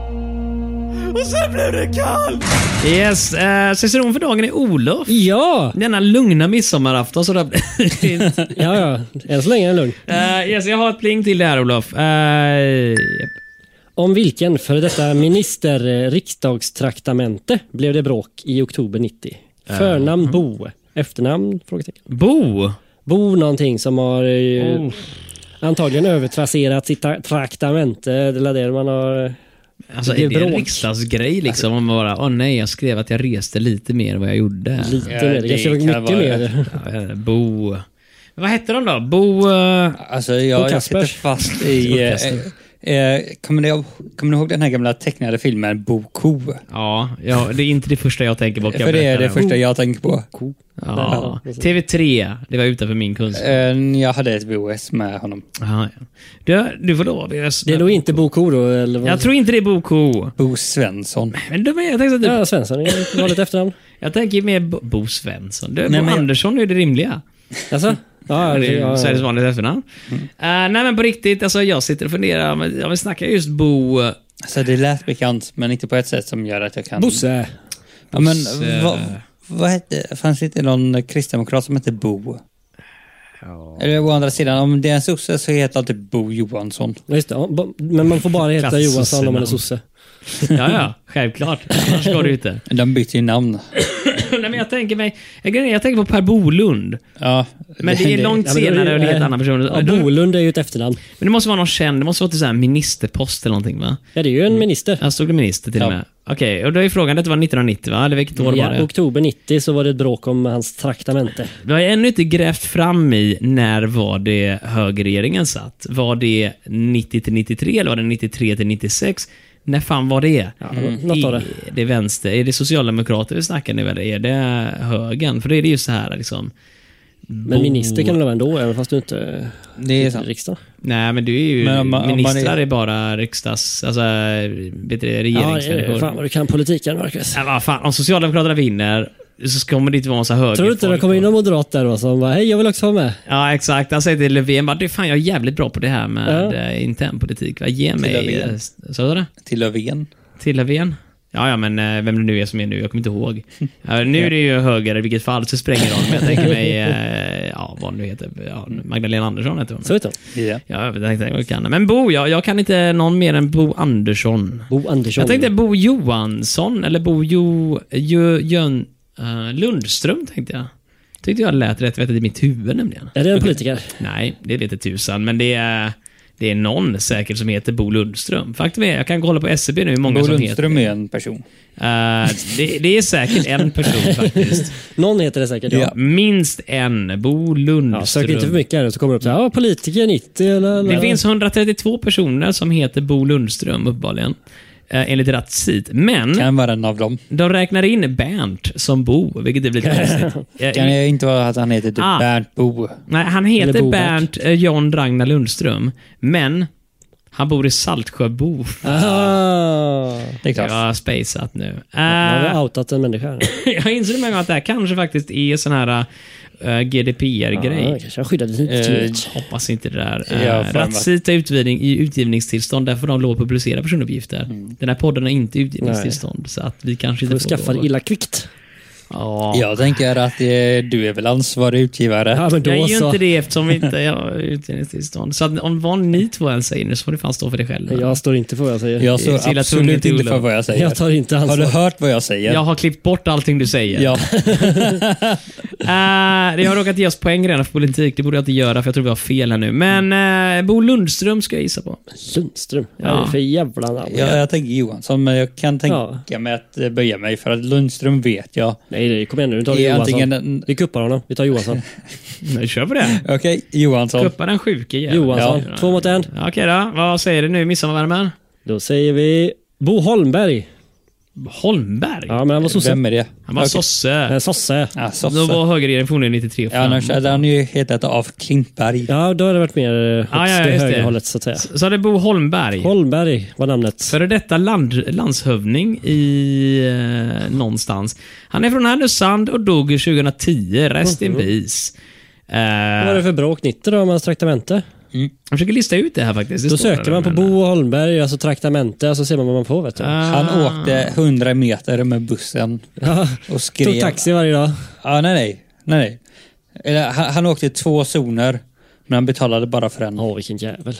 Och sen blev det kallt. Yes, eh, ciceron för dagen är Olof. Ja! Denna lugna midsommarafton så det blir fint. Ja, ja. Än så länge är det lugn. Eh, yes, jag har ett pling till det här Olof. Eh, japp. Om vilken före detta minister eh, riksdagstraktamente blev det bråk i oktober 90? Eh, mm. Förnamn Bo. Efternamn? Frågetecken. Bo. Bo någonting som har eh, Oh. antagligen övertrasserat sitt tra- traktamente. Det är det man har... eh, Alltså, Det är är det en bråk. riksdagsgrej liksom? Om man bara, åh nej, jag skrev att jag reste lite mer än vad jag gjorde. Lite Ja, mer. Det det kanske var kan mycket vara- mer. Ja, jag vet inte, Bo. Vad hette de då? Bo... eh, Alltså jag, jag sitter Kaspers. fast i... Och Eh, eh, kommer, ni, ihåg- kommer ni ihåg den här gamla tecknade filmen Bo Ko? Ja, ja, det är inte det första jag tänker på. kan jag För det är berätta det här. första jag tänker på. Ko. Ja. TV3, det var utanför min kunskap. Eh, Jag hade ett VHS med honom. Jaha, ja. Du, du får lov. Jag, Det är nog inte Bo Ko då? Eller vad? jag tror inte det är Bo Ko. Bo Svensson. Men de är, jag, tänker så att Ja, typ, Svensson är ett vanligt efternamn. jag tänker mer Bo- Bo Svensson. Du, Nej, Bo men jag- Andersson är det rimliga. Alltså? Ja, det är ju ja, Sveriges ja. vanliga efternamn. Eh, nej men på riktigt, alltså, jag sitter och funderar. om- Om vi snackar just Bo... Alltså det lät bekant, men inte på ett sätt som gör att jag kan... Bosse. Ja, men Bosse. vad vad hette... Fanns det inte någon kristdemokrat som hette Bo? Eller å andra sidan, om det är en sosse så heter han typ Bo Johansson. Just det, ja, bo- men man får bara heta Klass- Johansson om man är sossenamn. sosse. Ja, ja, självklart. Annars går det ju inte. De bytte ju namn. nej, men jag tänker mig... Jag, jag tänker på Per Bolund. Ja, Men det är långt Ja, men då är det- senare och det är en helt nej. annan person. Ja, Då- Bolund är ju ett efternamn. Men det måste vara någon känd, det måste vara till så här ministerpost eller någonting va? Ja, det är Mm. ju en minister. Här stod det minister till och Ja. med. Okej, och då är frågan, detta var 1990 va? Eller vilket år var Ja, det? oktober 90 så var det ett bråk om hans traktamente. Vi har ännu inte grävt fram i när var det högerregeringen satt? Var det 90 till 93 eller var det 93 till 96? När fan var det? något av det. Är det vänster? Är det socialdemokrater vi snackar nu eller är det högern? För det är det ju så här liksom. Men minister kan du vara ändå, även fast du inte är det i är sant. riksdagen. Nej, men du är ju... Men om man- om man ministrar är... är- bara riksdags... Alltså, vet du, det, Ja, det är regeringsmänniskor. det. Fan vad du kan politiken, Marcus. Ja, vad fan, om Socialdemokraterna vinner så kommer det inte vara en så höger Tror du inte det folk kommer in då? någon moderat där då som bara, hej jag vill också vara med. Ja, exakt. Han säger till Löfven bara, du fan jag är jävligt bra på det här med Ja. eh, internpolitik. Va? Ge mig... Löfven. eh, s- Sa du det? Till Löfven. Till Löfven? Ja, ja, men eh, vem det nu är som är nu, jag kommer inte ihåg. Ja, nu är det ju höger i vilket fall, så spränger de. Men jag tänker mig, eh, ja, vad nu heter, ja, Magdalena Andersson heter hon. Så vet du. Ja. Ja, jag tänkte jag kan. Men Bo, jag, jag kan inte någon mer än Bo Andersson. Bo Andersson. Jag tänkte Bo Johansson eller Bo jo, jo, Jön, eh, Lundström tänkte jag. Tyckte jag lät rätt vettigt i mitt huvud nämligen. Är det en politiker? Nej, det vet jag tusan, men det är, det är någon säkert som heter Bo Lundström. Faktum är, jag kan kolla på SCB nu hur många Bo som Lundström är en person. heter. Eh, det, det är säkert en person faktiskt. Någon heter det säkert, ja. Ja. Minst en. Bo ja sök inte för Lundström. mycket här nu, så kommer det upp så här, ja politiker 90 eller... det finns 132 personer som heter Bo Lundström uppenbarligen. Uh, enligt Ratsit. Men... Kan vara en av dem. De räknar in Bernt som Bo, vilket är lite konstigt. Jag- Kan det inte vara att han heter typ Ah. Bernt Bo? Nej, han Eller heter Bobert. Bernt eh, John Ragnar Lundström, men han bor i Saltsjöbo. Ah, Det är klart. Jag har spejsat nu. jag Eh, har outat en människa här. jag inser med att det här kanske faktiskt är sån här eh, Ja, GDPR-grej. kanske jag skyddade lite Eh, too much. Hoppas inte det där. Ja, fan Eh, vad- Ratsita är utgivning, i utgivningstillstånd, därför de lov att publicera Mm. personuppgifter. Den här podden har inte utgivningstillstånd, så att vi kanske Får inte får skaffa lov. det illa kvickt. Ja. Jag tänker att eh, du är väl ansvarig utgivare. Ja, men jag är då ju så. inte det eftersom vi inte har utredningstillstånd. Så att om vad ni två än säger nu så får ni fan stå för det själva. Jag står inte för vad jag säger. Jag Det är står till att tungan absolut till inte för Olof. vad jag säger. Jag tar inte Har ansvar. du hört vad jag säger? Jag har klippt bort allting du säger. Ja. Eh, det har råkat ge oss poäng redan för politik. Det borde jag inte göra för jag tror vi har fel här nu. Men eh, Bo Lundström ska jag gissa på. Lundström. Vad Ja. är det för jävla namn? Jag, jag tänker Johansson, men jag kan tänka Ja. mig att eh, böja mig för att Lundström vet jag. Nej, nej, kom igen nu. Vi tar Det är Johansson. antingen en- Vi kuppar honom. Vi tar Johansson. Nu kör vi det. Okej, Johansson. Kuppa den sjuke jäveln. Johansson. Ja. Två mot en. Ja, Okej då. Vad säger du nu? Midsommarvärmen? Då säger vi Bo Holmberg. Holmberg? Ja, men han var sosse. Vem är det? Han var sosse. Eh, Sosse. Ja, Då sosse. var högerregeringen fornligen 93 och Ja, annars framåt. hade han ju hetat av Klintberg. Ja, då har det varit mer eh, högst Ja, ja, till just det. högerhållet så att säga. Så det Bo Holmberg. Holmberg var namnet. Före detta land, landshövding i eh, någonstans. Han är från Härnösand och dog 2010. Rest in Mm. peace. Eh, Vad var det för bråk 90 då om hans traktamente? Jag försöker lista ut det här faktiskt. Det Då står söker där, man på men- Bo Holmberg, alltså traktamente, och så ser man vad man får vet du. Ah. Han åkte 100 meter med bussen Ja, och skrev... tog taxi varje dag. Ja, nej, nej. nej, nej. Eller, han, han åkte två zoner, men han betalade bara för en. Åh, vilken jävel.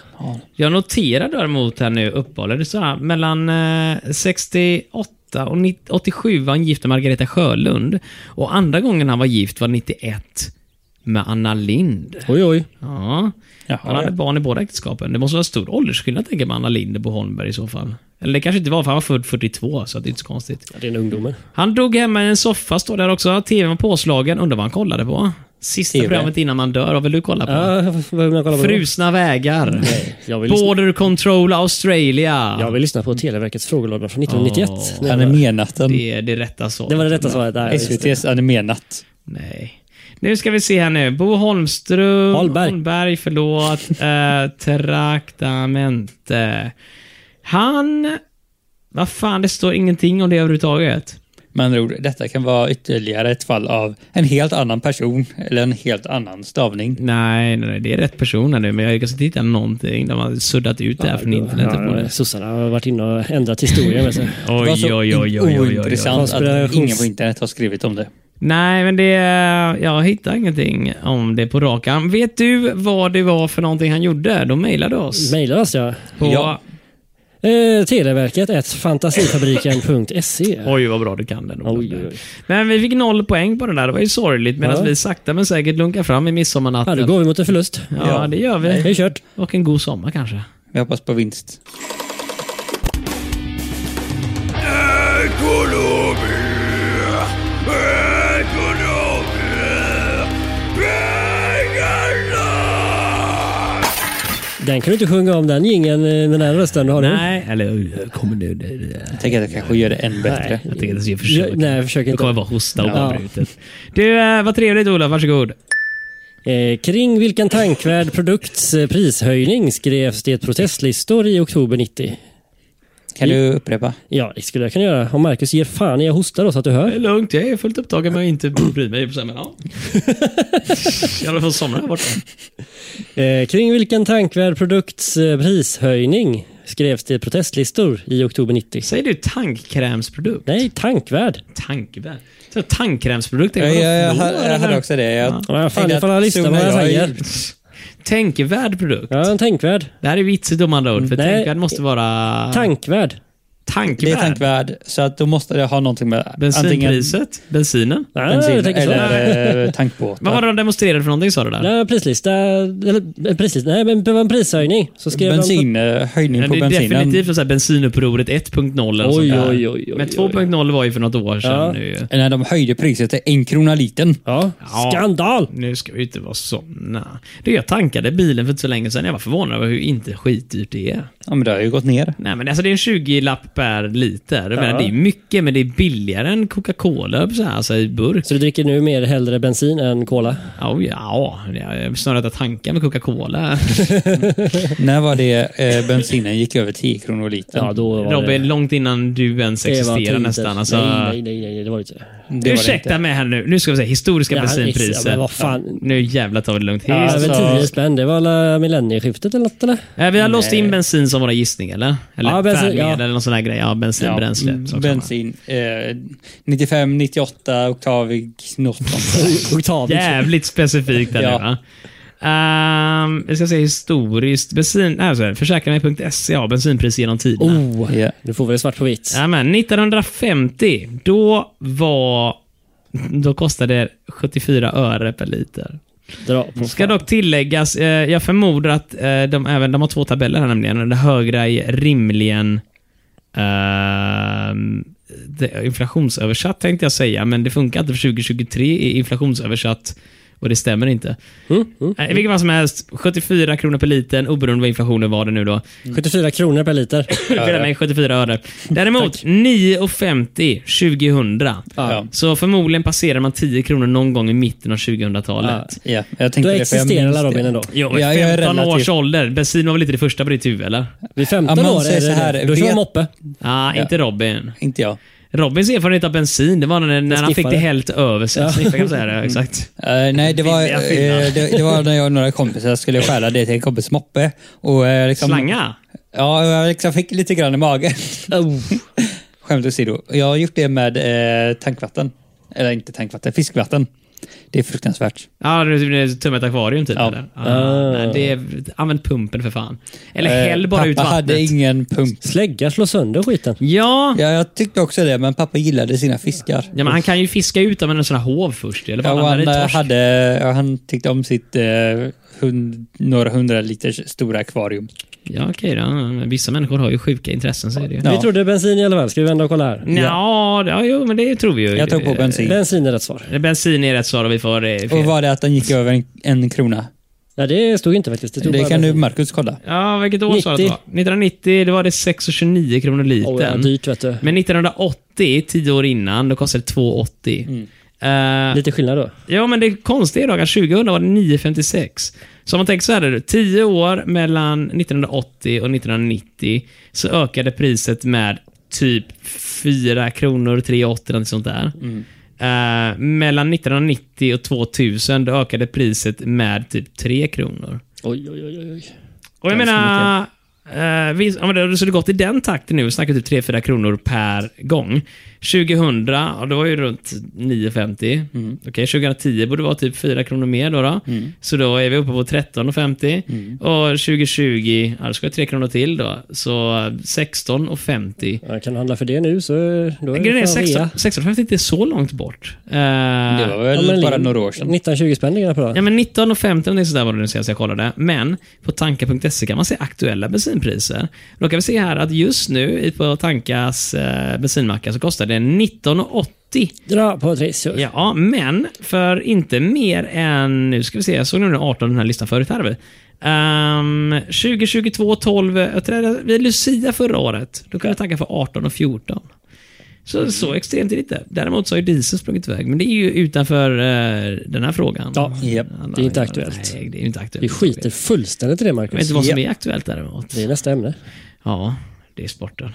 Jag noterar däremot här nu uppehållet. Det står här, mellan eh, 68 och 90 87 var han gift med Margareta Sjölund. Och andra gången han var gift var 91 med Anna Lind. Oj, oj. Ja. Jaha, han hade ja. barn i båda äktenskapen. Det måste vara stor åldersskillnad tänker man, Anna Lind och Bo Holmberg i så fall. Eller det kanske inte var, för han var född 42, så det är inte så konstigt. Ja, det är en ungdomen. Han dog hemma i en soffa, står där också. TVn var påslagen. Undrar vad han kollade på? Sista TV. programmet innan man dör, vad vill du kolla på? Ja, vad vill man kolla på då? Frusna vägar. Jag vill, lyssna, Border Control Australia. jag vill lyssna på Televerkets frågelåda från 1991. Åh. Nej, det, var, Animenatten. Det är det rätta svaret. det var det rätta svaret. Där, just det. SVT's Animenatt. Nej. Nu ska vi se här nu. Bo Holmström. Holmberg. Holmberg, förlåt. Eh, traktamente. Han... Vad fan, det står ingenting om det överhuvudtaget. Med andra ord, detta kan vara ytterligare ett fall av en helt annan person eller en helt annan stavning. Nej, nej, nej det är rätt person här nu, men jag har inte hitta någonting. De har suddat ut det här från internet. Ja, Ja, nej, Sossarna har varit inne och ändrat historien. Med sig. Det var oj, oj, så oj, oj, oj, oj, oj. ointressant att Konspirations- ingen på internet har skrivit om det. Nej, men det... Jag hittar ingenting om det på rak arm. Vet du vad det var för någonting han gjorde? De mejlade oss. Mailar oss ja. På... Ja. Eh, televerket ett fantasifabriken.se. Oj, vad bra du kan den. Olof. Oj, oj, oj. Men vi fick noll poäng på den där. Det var ju sorgligt. Medan Ja. vi sakta men säkert lunkar fram i Ja, midsommarnatten. då går vi mot en förlust. ja, det gör Det är vi. kört. Och en god sommar kanske. Vi hoppas på vinst. Den kan du inte sjunga om den gingen eh, den här rösten du har nu. Nej, eller eh, kommer nu... det- det- Jag tänker att jag kanske gör det än bättre. Jag tänker inte ens försöka. Ja, nej, försök inte. Jag kommer bara hosta Ja. oavbrutet. Du, eh, vad trevligt Ola. Varsågod. Eh, kring vilken tankvärd produkts eh, prishöjning skrevs det protestlistor i oktober 90? Kan du upprepa? Ja, det skulle jag kunna göra. Om Marcus ger fan i jag hostar då så att du Det är hör. lugnt. Jag är fullt upptagen med att inte bry mig. Så här, Men, ja. I alla fall somnar här borta. Eh, kring vilken tankvärd produkts eh, prishöjning skrevs det protestlistor i oktober 90? Säger du tankkrämsprodukt? Nej, tankvärd. Tankvärd? Så Tankkrämsprodukt? Jag, tänker man jag, på jag, fluor, jag hade eller? också det. Jag Ja, vad fan, tänkte ifall han att lyssnar på vad jag zonar säger. ut. Tänkvärd produkt? Ja, en tänkvärd. Det här är vitsigt om andra ord, för Mm, Nej. tänkvärd måste vara... Tankvärd. Det är tankvärd. tankvärd, så att då måste det ha någonting med Bensinpriset, bensinen. Ja, bensin jag tänker så. eller eh, Vad var tankbåtar. det de demonstrerade för någonting sa du där? Nej, prislista. Eller eh, prislista. Nej, men det var en prishöjning. Så skrev de- Ja, Bensinhöjning eh, på det är bensinen. definitivt så här bensinupproret 1.0 eller något Oj, sånt där. oj, oj, oj, Men oj. 2.0 var ju för något år sedan. Ja. Nu, ju. När de höjde priset till en krona liten. Ja. Ja. Skandal! nu ska vi inte vara såna. Du, jag tankade bilen för inte så länge sedan. Jag var förvånad över hur inte skitdyrt det är. Ja, men det har ju gått ner. Nej, men alltså det är en 20-lapp per liter. Jag menar, Ja. det är mycket, men det är billigare än Coca-Cola så här, alltså, i burk. Så du dricker nu mer hellre bensin än cola? Ja, ja, jag- snarare att tanka med Coca-Cola. När var det eh, bensinen gick över 10 kronor litern? Ja, då var det... Robin, långt innan du ens Det var existerar tider. nästan. Alltså, Nej, nej, nej, nej, det var det inte. det var det ursäkta mig här nu. Nu ska vi säga historiska Ja, ex- bensinpriser. ja, men vad fan. Ja, Nu jävlar tar vi det lugnt. Ja, Hist- alltså... alltså- 10 spänn, det var alla millennieskiftet eller något eller? Eh, vi har låst in bensin som våra gissning eller? Eller Ja, bensin, färdmedel ja. eller någon sån här grejer. Ja, bensin, Ja, bränsle. mm, sak samma. bensin. Eh, 95, 98, oktavig, något sånt. Oktavius. Jävligt specifikt där Ja. nu va? Ehm, vi ska se historiskt. Bensin, alltså, försäkra mig.se, ja, bensinpris genom tiderna. Oh, Ja. nu får vi det svart på vitt. Ja, men 1950, då var... Då kostade det 74 öre per liter. Dra på. Ska dock tilläggas, eh, jag förmodar att eh, de, även, de har två tabeller här nämligen. Det högra är rimligen ehm, det är inflationsöversatt tänkte jag säga, men det funkar inte för 2023 är inflationsöversatt och det stämmer inte. Mm, mm. Eh, I vilket fall som helst, 74 kronor per liten oberoende vad inflationen var det nu då. 74 kronor per liter. Dela med 74 öre. Däremot 9,50 2000. Ja. Så förmodligen passerar man 10 kronor någon gång i mitten av 2000-talet. Ja, jag Då tänkte det, för jag existerar minns alla det. Robin ändå. Jo, men Ja, jag är 15 relativt- års ålder. Bensin var väl inte det första på ditt huvud, eller? Vid Ja, 15 man år säger är så det här, det. Då kör vet- man moppe. Ah, inte Robin. Inte jag. Robins erfarenhet av bensin, det var när, när han fick skiffade. det helt över sig. Ja. Sniffa kan man säga det, exakt. Eh, nej, det var, Billiga eh, det, det var när jag och några kompisar skulle stjäla det till en kompis moppe. Och, eh, liksom, Slanga? Ja, jag liksom fick lite grann i magen. Oh. Skämt åsido. Jag har gjort det med eh, tankvatten. Eller inte tankvatten, fiskvatten. Det är fruktansvärt. Ja, ah, tumma ett akvarium typ, Ja. eller? Ah, nej, det är, använd pumpen för fan. Eller Eh, häll bara pappa ut vattnet. hade ingen pump. Släggar slår sönder skiten. Ja, Ja, jag tyckte också det, men pappa gillade sina fiskar. Ja, men han kan ju fiska ut dem med en sån här hov först. Eller Ja, vad och han, han eh, hade hade, ja, han tyckte om sitt eh, hund, några hundra liters stora akvarium. Ja, okej då. Men Vissa människor har ju sjuka intressen, så är det ju. Ja. Vi trodde bensin i alla fall. Ska vi vända och kolla här? Nja, ja. ja, jo, men det tror vi ju. Jag tog på bensin. Bensin är rätt svar. Eh, Bensin är rätt svar och vi får det Och fel. var det att den gick över en, en krona? Ja, det stod inte faktiskt. Det, stod Det bara kan nu bensin. Marcus kolla. Ja, vilket år sa det att det var? 90. 1990, det var det 6,29 kronor Åh, ja, litern. dyrt vet du. men 1980, tio år innan, då kostade det 2,80. Eh, Mm. Lite skillnad då. Ja, men det konstiga är dock att 2000 var det 9,56. Så om man tänker så här, är det 10 år mellan 1980 och 1990 så ökade priset med typ 4 kronor, 3,80 eller något sånt där. Mm. Eh, mellan 1990 och 2000 då ökade priset med typ 3 kronor. Oj, oj, oj. oj. Och jag Ganska menar... Uh, vi, ja, men det, så det har gått i den takten nu. Vi snackar typ 3-4 kronor per gång. 2000, ja, det var ju runt 9,50. Mm. Okej, 2010 borde vara typ 4 kronor mer då. då. Så då är vi uppe på 13,50. Och 2020, ja, då ska jag 3 kronor till då. Så eh, 16,50. Ja, kan du handla för det nu så då är Grejen är det fan rea. 16 16,50 inte är så långt bort. Eh, Det var väl men bara lin- några år sedan. 19-20 spänn ligger den på då. Ja, men 19 och 15 det är sådär var det nu senast jag kollade. Men på tanka.se E kan man se aktuella bensinpriser. Då kan vi se här att just nu i- på Tankas eh, bensinmackar så kostar det 19,80. Dra på Trissur. Ja, men för inte mer än, nu ska vi se, jag såg nu 18 den här listan förut. Här, väl. Ehm, 2022, 12, jag trädde vid Lucia förra året. Då kunde jag tanka för 18 och 14. Mm. Så, så extremt är det inte. Däremot så har ju diesel sprungit iväg, men det är ju utanför eh, den här frågan. Ja. Japp. Det är inte aktuellt. Nej, det är inte aktuellt. Vi skiter fullständigt i det, Jag vet Marcus. inte vad som är aktuellt däremot. Det är nästa ämne. Ja, det är sporten.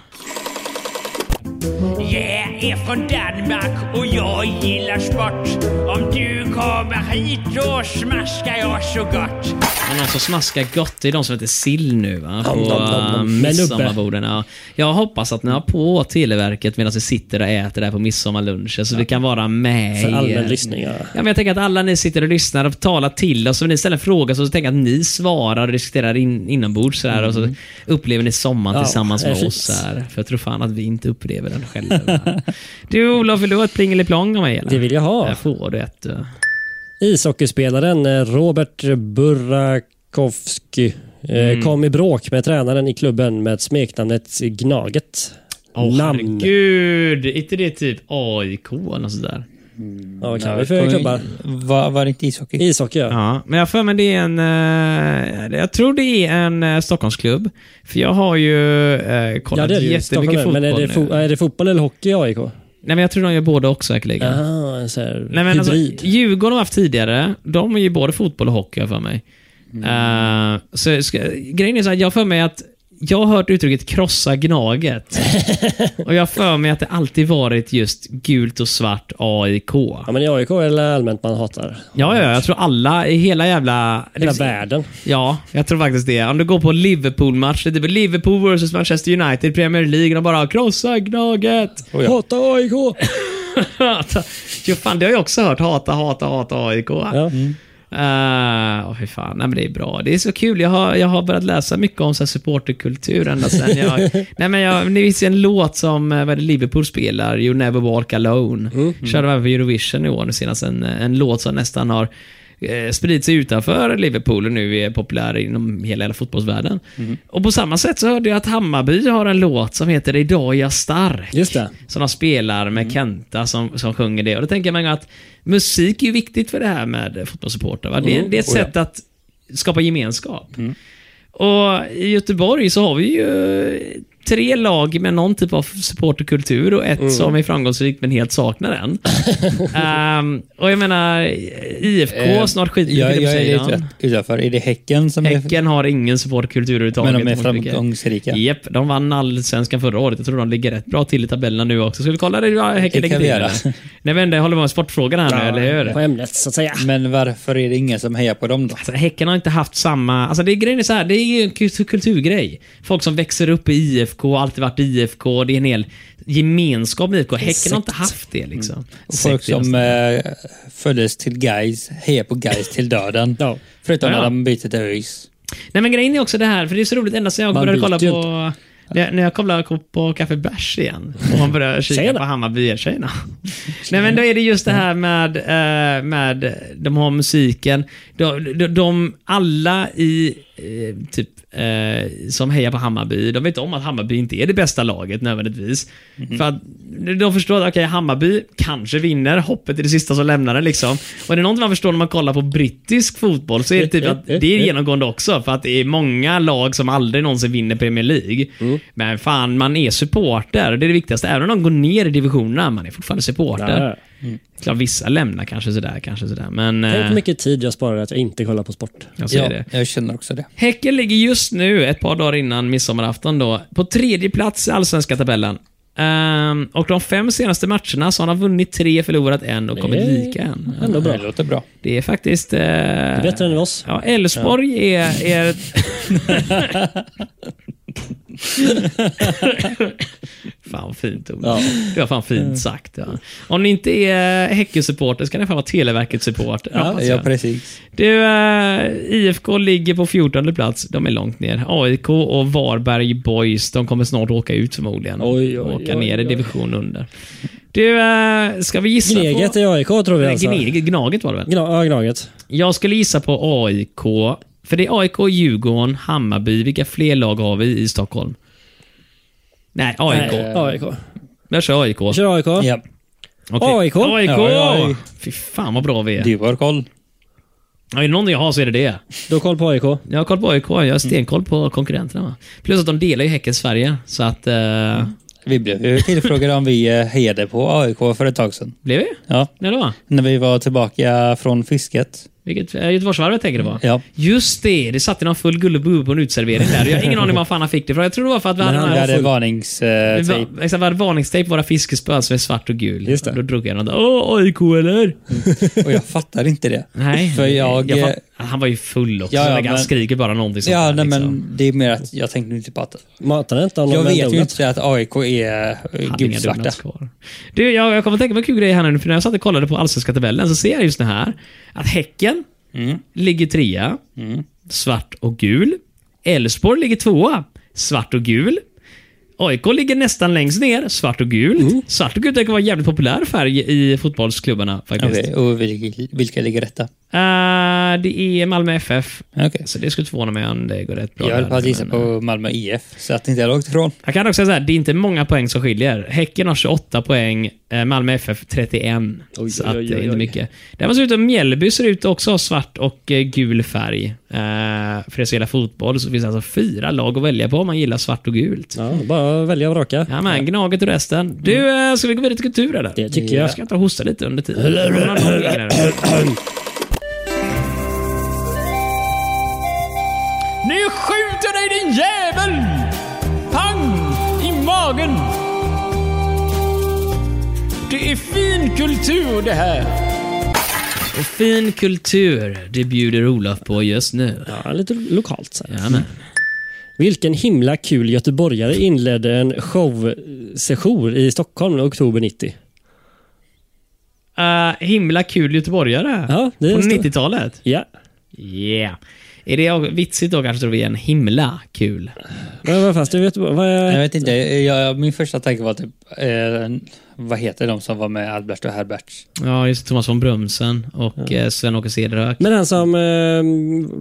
Jag är från Danmark och jag gillar sport. Om du kommer hit då smaskar jag så gott. Men någon som smaskar gott, det är de som heter sill nu va? På Nom, nom, nom, eh, nom. midsommarborden. Ja. Jag hoppas att ni har på Televerket medan vi sitter och äter där på midsommarlunchen så vi kan vara med För er. allmän lyssning. Ja. Ja, men jag tänker att alla ni sitter och lyssnar och talar till oss och ni ställer en fråga så tänker jag att ni svarar och diskuterar in, inombords sådär, och så upplever ni sommaren Mm. Ja, tillsammans med precis. oss. Sådär, för jag tror fan att vi inte upplever den själva. du Olof, vill du ha ett plingeliplong av mig? Eller? Det vill jag ha. Där får du ett. du. Ishockeyspelaren eh, Robert Burakovsky eh, Mm. kom i bråk med tränaren i klubben med smeknamnet Gnaget. Åh, Namn. Herregud, är inte det typ AIK eller något sådär? Ja, vad kan vi Nej, för kommer- klubbar? Var, var det inte ishockey? Ishockey, ja. Ja, men jag har för mig det är en... eh, jag tror det är en eh, Stockholmsklubb. För jag har ju eh, Ja, kollat det är det ju. jättemycket Stockholm, fotboll men är det, nu. fo- är det fotboll eller hockey i AIK? Nej, men jag tror de gör båda också säkerligen. Jaha, en sån här Nej, men alltså, hybrid. Djurgården har haft tidigare, de Mm. är ju både fotboll och hockey har jag för mig. Eh, så ska, grejen är så här, jag har för mig att jag har hört uttrycket krossa gnaget. och jag har för mig att det alltid varit just gult och svart AIK. Ja, men i AIK är det allmänt man hatar. Ja, ja, jag tror alla i hela jävla... Hela världen. Ja, jag tror faktiskt det. Om du går på en Liverpool-match, det är typ Liverpool vs Manchester United, Premier League, de bara “Krossa Gnaget!” Oh, ja. Hata AIK! Alltså, Jo, fan, det har jag också hört. Hata, hata, hata AIK. Ja. Eh, åh, fy fan. Nej, men det är bra. Det är så kul. Jag har, jag har börjat läsa mycket om så här, supporterkultur ända sen jag... nej, men jag, det finns ju en låt som eh, vad är det, Liverpool spelar, You Never Walk Alone. Körde även för Eurovision i år nu senast. En, en låt som nästan har eh, spridit sig utanför Liverpool och nu är populär inom hela, hela fotbollsvärlden. Och på samma sätt så hörde jag att Hammarby har en låt som heter Idag är jag stark. Just det. Som de spelar Mm. med Kenta som, som sjunger det. Och då tänker man ju att musik är ju viktigt för det här med fotbollssupportrar. va? Det, Mm. är- det Oh, är ett sätt att skapa gemenskap. Och i Göteborg så har vi ju tre lag med någon typ av supporterkultur och Mm. ett som är framgångsrikt men helt saknar den. Ehm, och jag menar, IFK Eh, snart skiter Jag, vi på jag är lite sidan. ut- utanför. Är det Häcken som Häcken har ingen supporterkultur är... överhuvudtaget. Men de är mot mycket. framgångsrika? Japp, de vann allsvenskan förra året. Jag tror de ligger rätt bra till i tabellerna nu också. Ska vi kolla det? Ja, Häcken Det ligger kan vi till. göra. eller? Nej, men det håller på med sportfrågan här nu, eller hur? På ämnet, så att säga. Men varför är det ingen som hejar på dem då? Alltså, häcken har inte haft samma... Alltså, det, är- grejen är så här, det är ju en kul- kulturgrej. Folk som växer upp i IFK, har alltid varit i IFK. Det är en hel gemenskap med IFK. Häcken har inte haft det. Liksom. Mm. Och folk Sekt, som ja. eh, föddes till guys hejar på guys till döden. Ja. Förutom Ja, ja. när de byter till ÖIS. Nej, men grejen är också det här, för det är så roligt. Ända sedan jag Man började kolla byter ju på... När jag- när jag kollar ko- på Café Bärs igen och man börjar kika Tjena. på Hammarby tjejerna Nej men då är det just det här med, eh, med de har musiken. De, de, de alla i, eh, typ, eh, som hejar på Hammarby, de vet om att Hammarby inte är det bästa laget nödvändigtvis. Mhm. För att de förstår att okej, Hammarby kanske vinner, hoppet är det sista som lämnar det liksom. Och är det någonting man förstår när man kollar på brittisk fotboll så är det typ att det är genomgående också. För att det är många lag som aldrig någonsin vinner Premier League. Mm. Men fan, man är supporter. Det är det viktigaste. Även om de går ner i divisionerna, man är fortfarande supporter. Ja. Klart, vissa lämnar kanske sådär, kanske sådär. Men Tänk eh, hur mycket tid jag sparar att jag inte kollar på sport. jag säger Ja, det. jag känner också det. Häcken ligger just nu, ett par dagar innan midsommarafton, då, på tredje plats i allsvenska tabellen. Ehm, och de fem senaste matcherna så har de vunnit tre, förlorat en och kommit är lika en. Ja, Ändå bra. Det låter bra. det är faktiskt... eh, Bättre än oss. Ja, Elfsborg är... är... fan vad fint Ola. Ja. Det var fan fint sagt. Ja. Om ni inte är Häckensupporter så kan ni fan vara Televerket-supporter. Ja, hoppas jag. precis. Du, eh, IFK ligger på 14 plats. De är långt ner. AIK och Varberg Boys, de kommer snart åka ut förmodligen. Oj, oj, och åka oj, ner i oj. division under. Du, eh, ska vi gissa Gneget på... i AIK tror vi alltså. Gna- Gneget, gnaget var det väl? ja, Gnaget. Jag skulle gissa på AIK. För det är AIK, Djurgården, Hammarby. Vilka fler lag har vi i Stockholm? Nej, AIK. Nej, AIK. Jag kör AIK. Vi kör AIK. Ja, Okej. AIK. AIK! Ja, ja. Fy fan vad bra vi är. du har koll. Ja, Är det någon jag har så är det det. Du har koll på AIK. Jag har koll på AIK. Jag har Mm. stenkoll på konkurrenterna. Va? Plus att de delar ju Häckens Sverige. Så att... Eh, Mm. Vi blev ju tillfrågade om vi eh, hejade på AIK för ett tag sedan. Blev vi? Ja, När då? när vi var tillbaka från fisket. Vilket, eh, Göteborgsvarvet tänker du på? Ja. Just det, det satt ju någon full gullebubbe på en utservering där. Jag har ingen aning var fan han fick det ifrån. Jag tror det var för att vi Men hade, han den här- hade eh, varningstejp. Va- Exakt, vi hade varningstejp på våra fiskespön som är svart och gul. Just det. Då drog jag något. Åh, AIK eller? Och jag fattar inte det. Nej. För jag... jag eh, fatt- han var ju full också. Ja, så ja, jag- han men- skriker bara någonting sånt Ja, där, nej, liksom. men det är mer att jag tänkte inte på att... Matar inte om Jag de vet ju ordet. inte att AIK är eh, hade inga gulsvarta. donuts kvar. Du, jag, jag kommer att tänka på en kul grej här nu, för när jag satt och kollade på allsvenska tabellen så ser jag just det här. Att Häcken Mm. ligger trea, svart och gul. Elfsborg ligger tvåa, svart och gul. AIK ligger nästan längst ner, svart och gult. Mm. Svart och gult verkar vara en jävligt populär färg i fotbollsklubbarna faktiskt. Okej, och vilka, vilka ligger rätta? Eh, det är Malmö FF. Okej. Så det skulle förvåna mig om det går rätt bra. Jag höll där, på att gissa men, eh, på Malmö IF, så att inte jag låg ifrån. Jag kan också säga så här, det är inte många poäng som skiljer. Häcken har 28 poäng, eh, Malmö FF 31. Oj, så oj, att oj, det är oj, inte oj. mycket. Däremot ser det ut att Mjällby ser ut att också ha svart och eh, gul färg. Eh, för det är så hela fotboll så finns det alltså fyra lag att välja på om man gillar svart och gult. Ja. Ja, bara välja och vraka. men Gnaget och resten. Du, eh, ska vi gå vidare till kultur eller? Mm. Det tycker jag. Jag ska ta och hosta lite under tiden. Jag har någon egen här. Nu skjuter dig din jävel! dagen. Det är fin kultur det här. Och fin kultur, det bjuder Olof på just nu. Ja, lite lokalt. Så här. Jajamän. Vilken himla kul göteborgare inledde en showsession i Stockholm i oktober 90. Uh, himla kul göteborgare. Ja, det är på det. 90-talet. Ja, Yeah. Är det vitsigt då kanske tror vi en himla kul? men vad fast du vet vad Jag jag... vet inte, jag, min första tanke var typ, eh, vad heter de som var med Albert och Herbert? Ja, just det, Thomas von Brömsen och eh, Sven-Åke Cederhök. Men han som eh,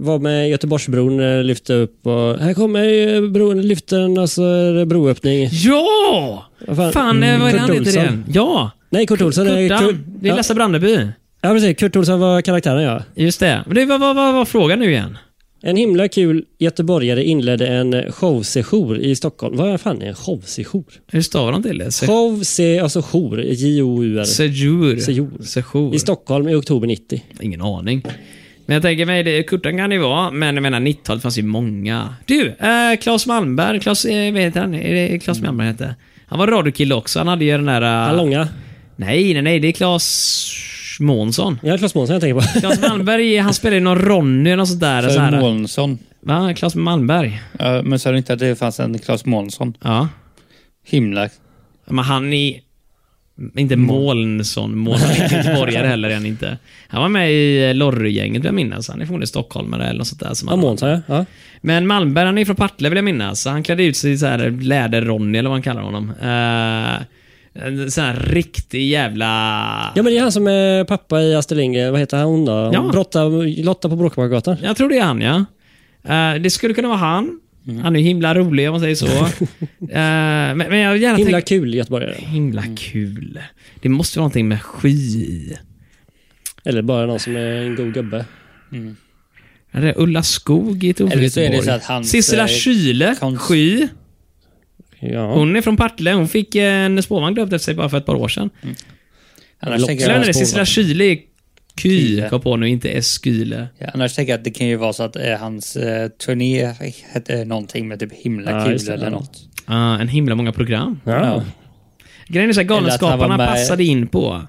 var med Göteborgsbron eh, lyfte upp och här kommer eh, bron, lyften och så är det broöppning. Ja! Vad Fan, fan? eh, vad är det Mm, Kurt han heter Olsson. igen? Ja! Nej, Kurt Olsson. eh, Kurt- Kurtan. Det är ja. Lasse Brandeby. Ja, precis. Kurt Olsson var karaktären, ja. Just det. Men det vad var, var, var frågan nu igen? En himla kul göteborgare inledde en eh, showsejour i Stockholm. Vad fan är en showsejour? Hur stavar de till det? Se- Show, se, alltså jour, J-O-U-R. Sejour. Sejour. Sejour. I Stockholm i oktober 90. Ingen aning. Men jag tänker mig, det, Kurtan kan det ju vara, men jag menar 90-talet fanns ju många. Du, eh, Claes Malmberg, Claes, eh, vad heter han? Är det Mm. Claes Malmberg han hette? Han var radiokille också, han hade ju den där... eh, Ja. Långa. Nej, nej, nej, det är Claes Månsson. Ja, Claes Månsson jag tänker på. Claes Malmberg, han spelade ju någon Ronny eller något sånt där. Så Claes här. Månsson. Va? Claes Malmberg? Ja, men sa du inte att det fanns en Claes Månsson? Ja. Himla... Men han är... Inte Målnsson, Mål, han är inte göteborgare heller är han inte. Han var med i eh, Lorry-gänget vill jag minnas. Han är förmodligen stockholmare eller något sånt där. Som Ja, han Månsson ja. ja. Men Malmberg, han är från Partille vill jag minnas. Så Han klädde ut sig i så här läder-Ronny eller vad han kallar honom. Uh, en sån här riktig jävla... Ja, men det är han som är pappa i Astrid Lindgren. Vad heter hon då? Ja. Ja. Brotta, Lotta på Bråkmakargatan. Jag tror det är han, ja. Eh, det skulle kunna vara han. Mm. Han är himla rolig om man säger så. Eh, men, men jag vill gärna Himla tänka... kul göteborgare. Himla Mm. kul. Det måste vara någonting med sky i. Eller bara någon som är en god gubbe. Är det Ulla Skog i ett Eller så är det Göteborg? så att hans, Sissela eh, Kyle, konst- sky. Ja. Hon är från Partille. Hon fick en spårvagn döpt efter sig bara för ett par år sedan. Annars tänker, Sen är det jag, Sissela Kyle är Ky, Kyle. kom på nu, inte S-Kyle. Ja, annars tänker jag att det kan ju vara så att eh, hans eh, turné hette någonting med typ himla Ja, just kul det, eller ja. något. Ah, en himla många program. Ja. Grejen är så här, Eller att Galenskaparna han var med- Mm. passade in på.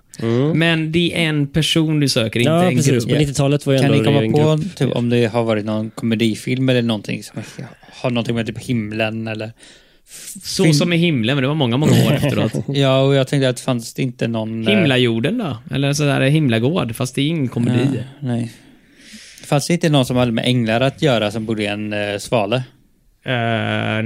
Men det är en person du söker, inte Mm. Ja, en precis. På grupp. 90-talet var ju Kan ändå ni en komma grupp. på typ, om det har varit någon komedifilm eller någonting som har någonting med typ himlen eller... Så som i himlen, men det var många, många år efteråt. Mm. Ja, och jag tänkte att fanns det inte någon... eh, Himlajorden då? Eller sådär himlagård, fast det är ingen komedi. Ja, nej. Fanns det inte någon som hade med änglar att göra som bodde i en eh, svale? Eh,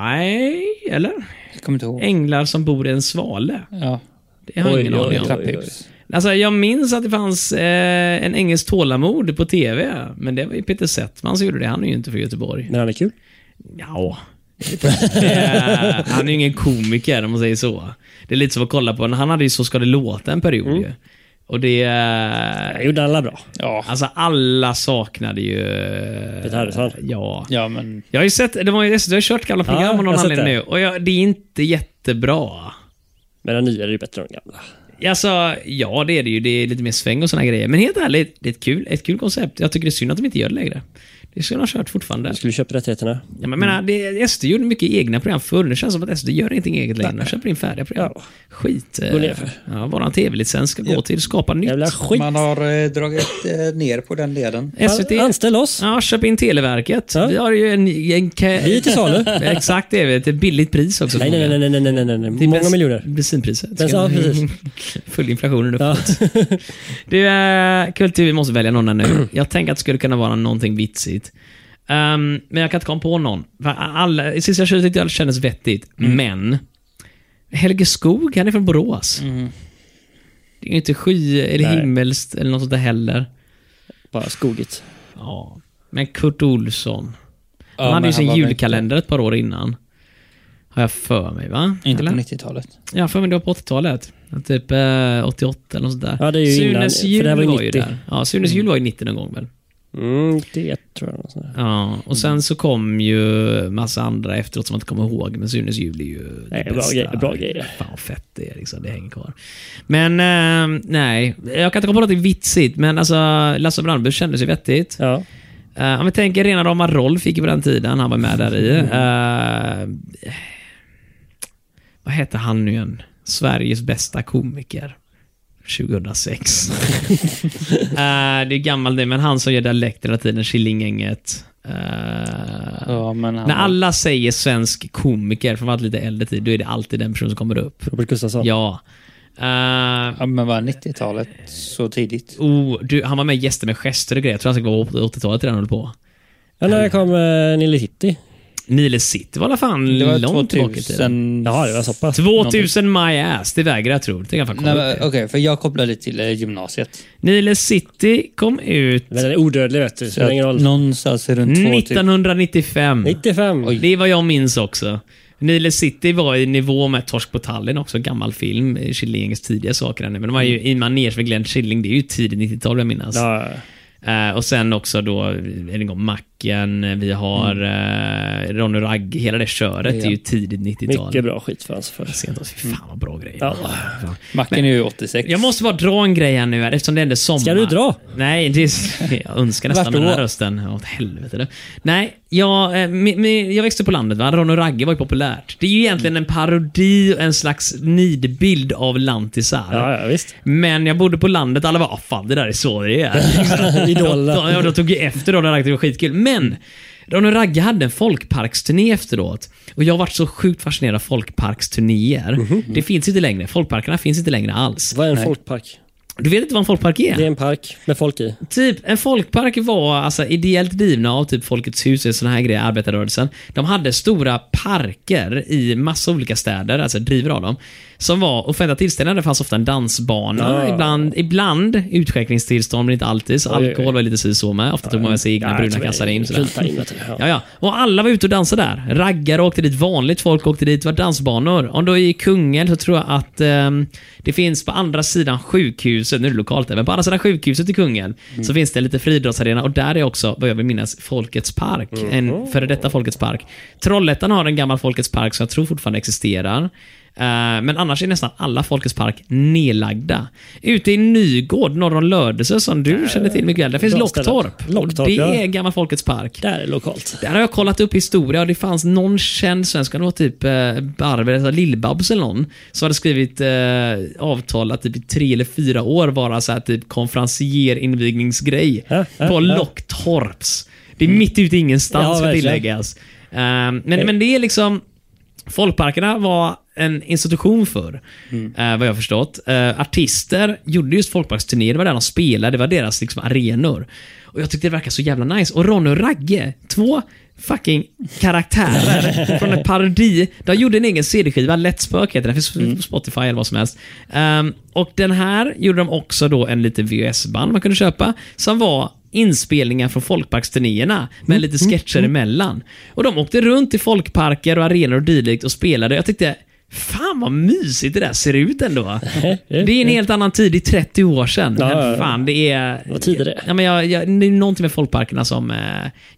nej, eller? Jag kommer inte ihåg. Änglar som bor i en svale. ja, Det har jag Oj, ingen oj, aning om. oj. trapphus. Alltså, jag minns att det fanns eh, en Engels tålamod på TV, men det var ju Peter Settman som gjorde det. Han är ju inte från Göteborg. Men han är kul. Ja. Eh, han är ju ingen komiker om man säger så. Det är lite som att kolla på, han hade ju Så ska det låta en period Mm. ju. Och det... eh, Han gjorde alla bra. Ja, Alltså alla saknade ju... Peter Harrison. Ja. ja men... Jag har ju sett, det var ju, jag har kört gamla program Ja, av jag någon har sett anledning nu det. och jag, det är inte jättebra. Men den nya är ju bättre än den gamla. Alltså, ja det är det ju. Det är lite mer sväng och såna grejer. Men helt ärligt, det är ett kul, ett kul koncept. Jag tycker det är synd att de inte gör det längre. Det skulle de ha kört fortfarande. Du skulle köpa rättigheterna. Ja, men jag menar, det, SD gjorde mycket egna program förr. Det känns som att SD gör ingenting eget längre. De köper in färdiga program. Skit. eh, Går ner för. Ja, våran tv-licens ska gå till skapa nytt. Jävla skit. Man har eh, dragit eh, ner på den delen. Fan, SVT. Anställ oss. Ja, köp in Televerket. Ja. Vi har ju en... en ka- Vi är till salu. Exakt, det är vi. Till billigt pris också. Nej, för nej, många. nej, nej, nej, nej, nej, nej. Till Många bens- miljoner. Bensinpriset. Bens- ja, precis. Full inflationen upp. Ja. Du, eh, kultur, vi måste välja någon här nu. Jag tänker att det skulle kunna vara någonting vitsigt. Ehm, men jag kan inte komma på någon. För Alla, sista tjugo tyckte jag kändes vettigt, Mm. men... Helge Skog, han är från Borås. Det är ju inte sky eller Mm. Nej. himmelskt eller något sånt där heller. Bara skogigt. Ja. Men Kurt Olsson. Ja, han men hade ju sin var väl julkalender ett par år innan. Har jag för mig, va? Inte Eller? på 90-talet. Ja, för mig det var på 80-talet. Typ eh, 88 eller något sånt där. Ja, det är ju innan, Sunes för jul det här var, var ju ju 90. där. Ja, Sunes jul var ju 90 någon gång väl? Mm, det tror jag. något sånt där. Ja, och Mm. sen så kom ju massa andra efteråt som man inte kommer ihåg, men Sunes jul är ju Nej, det bra bästa. grejer, bra grejer. Fan vad fett det är liksom, det hänger kvar. Men eh, nej, jag kan inte komma på något vitsigt, men alltså Lasse Brandberg kändes ju vettigt. Ja. Eh, om vi tänker rena Mm. rama Rolf fick ju på den tiden, han var med där i. Eh, Vad hette han nu igen? Sveriges bästa komiker. 2006. Eh, det är gammalt det, men han som gör dialekt hela tiden, Killinggänget. Eh, Ja, men han, När alla säger svensk komiker, från allt lite äldre tid, då är det alltid den personen som kommer upp. Robert Gustafsson. Ja. Eh, ja, men var 90-talet så tidigt? oh, du, han var med i Gäster med gester och grejer. Jag tror han ska vara på 80-talet redan höll på. Ja, när kom eh, Nile City? Nile City var i alla fall Det var långt tillbaka i tiden. 2000... Ja, det var så pass. 2000 my ass, det vägrar jag tro. Det kan jag fan kolla Nej, upp men, det. Okej, för jag kopplade det till eh, gymnasiet. Nile City kom ut Men den är odödlig vet du, så det spelar ingen Så att roll. någonstans runt 2000... 1995. 95. Det är vad jag minns också. Nile City var i nivå med Torsk på Tallinn också, en gammal film. eh, Killingens tidiga saker. här nu. Men de var ju i manege med Glenn Killing, det är ju tidigt 90-tal jag minns. Ja, Eh, och sen också då, än en gång, Macken, vi har eh, Ronny Ragge, hela det köret är ju tidigt 90-tal. mycket bra skit för hans för. Sent oss, fy fan vad bra grejer. Ja. Fan. Macken är ju 86. Jag måste bara dra en grej här nu här, eftersom det ändå är sommar. Ska du dra? Nej, det är, jag önskar nästan Vart med den här då? rösten. Ja, Åt helvete du. Nej, jag, eh, mi, mi, jag växte upp på landet. Va? Ron och Ragge var ju populärt. Det är ju egentligen en parodi och en slags nidbild av lantisar. Ja, ja, visst. Men jag bodde på landet alla bara "Ah, fan det där är så det är. Idolerna. Då- ja, då tog jag efter Ronny Ragge, det var skitkul. Men Ronny Ragge hade en folkparksturné efteråt. Och jag har varit så sjukt fascinerad av folkparksturnéer. Mhm. Det finns inte längre. Folkparkerna finns inte längre alls. Vad är en folkpark? Du vet inte vad en folkpark är? Det är en park med folk i. Typ, en folkpark var alltså, ideellt drivna av typ Folkets hus och såna här grejer, arbetarrörelsen. De hade stora parker i massa olika städer, alltså driver av dem, som var offentliga tillställningar. Det fanns ofta en dansbana, Ah. ibland, ibland utskänkningstillstånd, men inte alltid. Så Oj, oj, alkohol oj. var lite si och så med. Ofta tog man med sig egna bruna kassar in. sådär. Kulta in vet du. Ja, Ja. ja. Och alla var ute och dansade där. Raggare åkte dit, vanligt folk åkte dit, det var dansbanor. Om du är i Kungälv så tror jag att ehm, det finns på andra sidan sjukhuset, nu är det lokalt där, men på andra sidan sjukhuset i Kungälv Mm. så finns det lite friidrottsarena och där är också, vad jag vill minnas, Folkets park. En före detta Folkets park. Trollhättan har en gammal Folkets park som jag tror fortfarande existerar. Eh, Men annars är nästan alla Folkets park nedlagda. Ute i Nygård, norr om Lödöse, som du känner till mycket väl, där finns Bra ställe. Locktorp. Locktorp, Och det ja. är gammal Folkets park. Där är lokalt. Där har jag kollat upp historia och det fanns någon känd svensk, kan det var typ eh, Barbro, eller Lill-Babs eller någon, som hade skrivit eh, avtal att typ i tre eller fyra år vara så här typ konferencierinvigningsgrej Ja, ja, på ja. Locktorps. Det är mitt ute i ingenstans Mm. Ja, ska verkligen. tilläggas. Eh, men, men det är liksom, folkparkerna var en institution för eh, vad jag har förstått. Eh, artister gjorde just folkparksturnéer, det var där de spelade, det var deras liksom, arenor. Och jag tyckte det verkade så jävla nice. Och Ronny och Ragge, två fucking karaktärer från en parodi. De gjorde en egen CD-skiva, Let's Spök heter den, finns på Spotify eller vad som helst. Ehm, och den här gjorde de också då en liten VHS-band man kunde köpa, som var inspelningar från folkparksturnéerna med Mm, lite sketcher emellan. Och de åkte runt i folkparker och arenor och dylikt och spelade. Jag tyckte, fan vad mysigt det där ser ut ändå. Det är en helt annan tid, det är 30 år sedan. Ja, ja, Men ja. fan, det är... Vad tid är det? Ja, men jag, jag, det är någonting med folkparkerna som... Eh,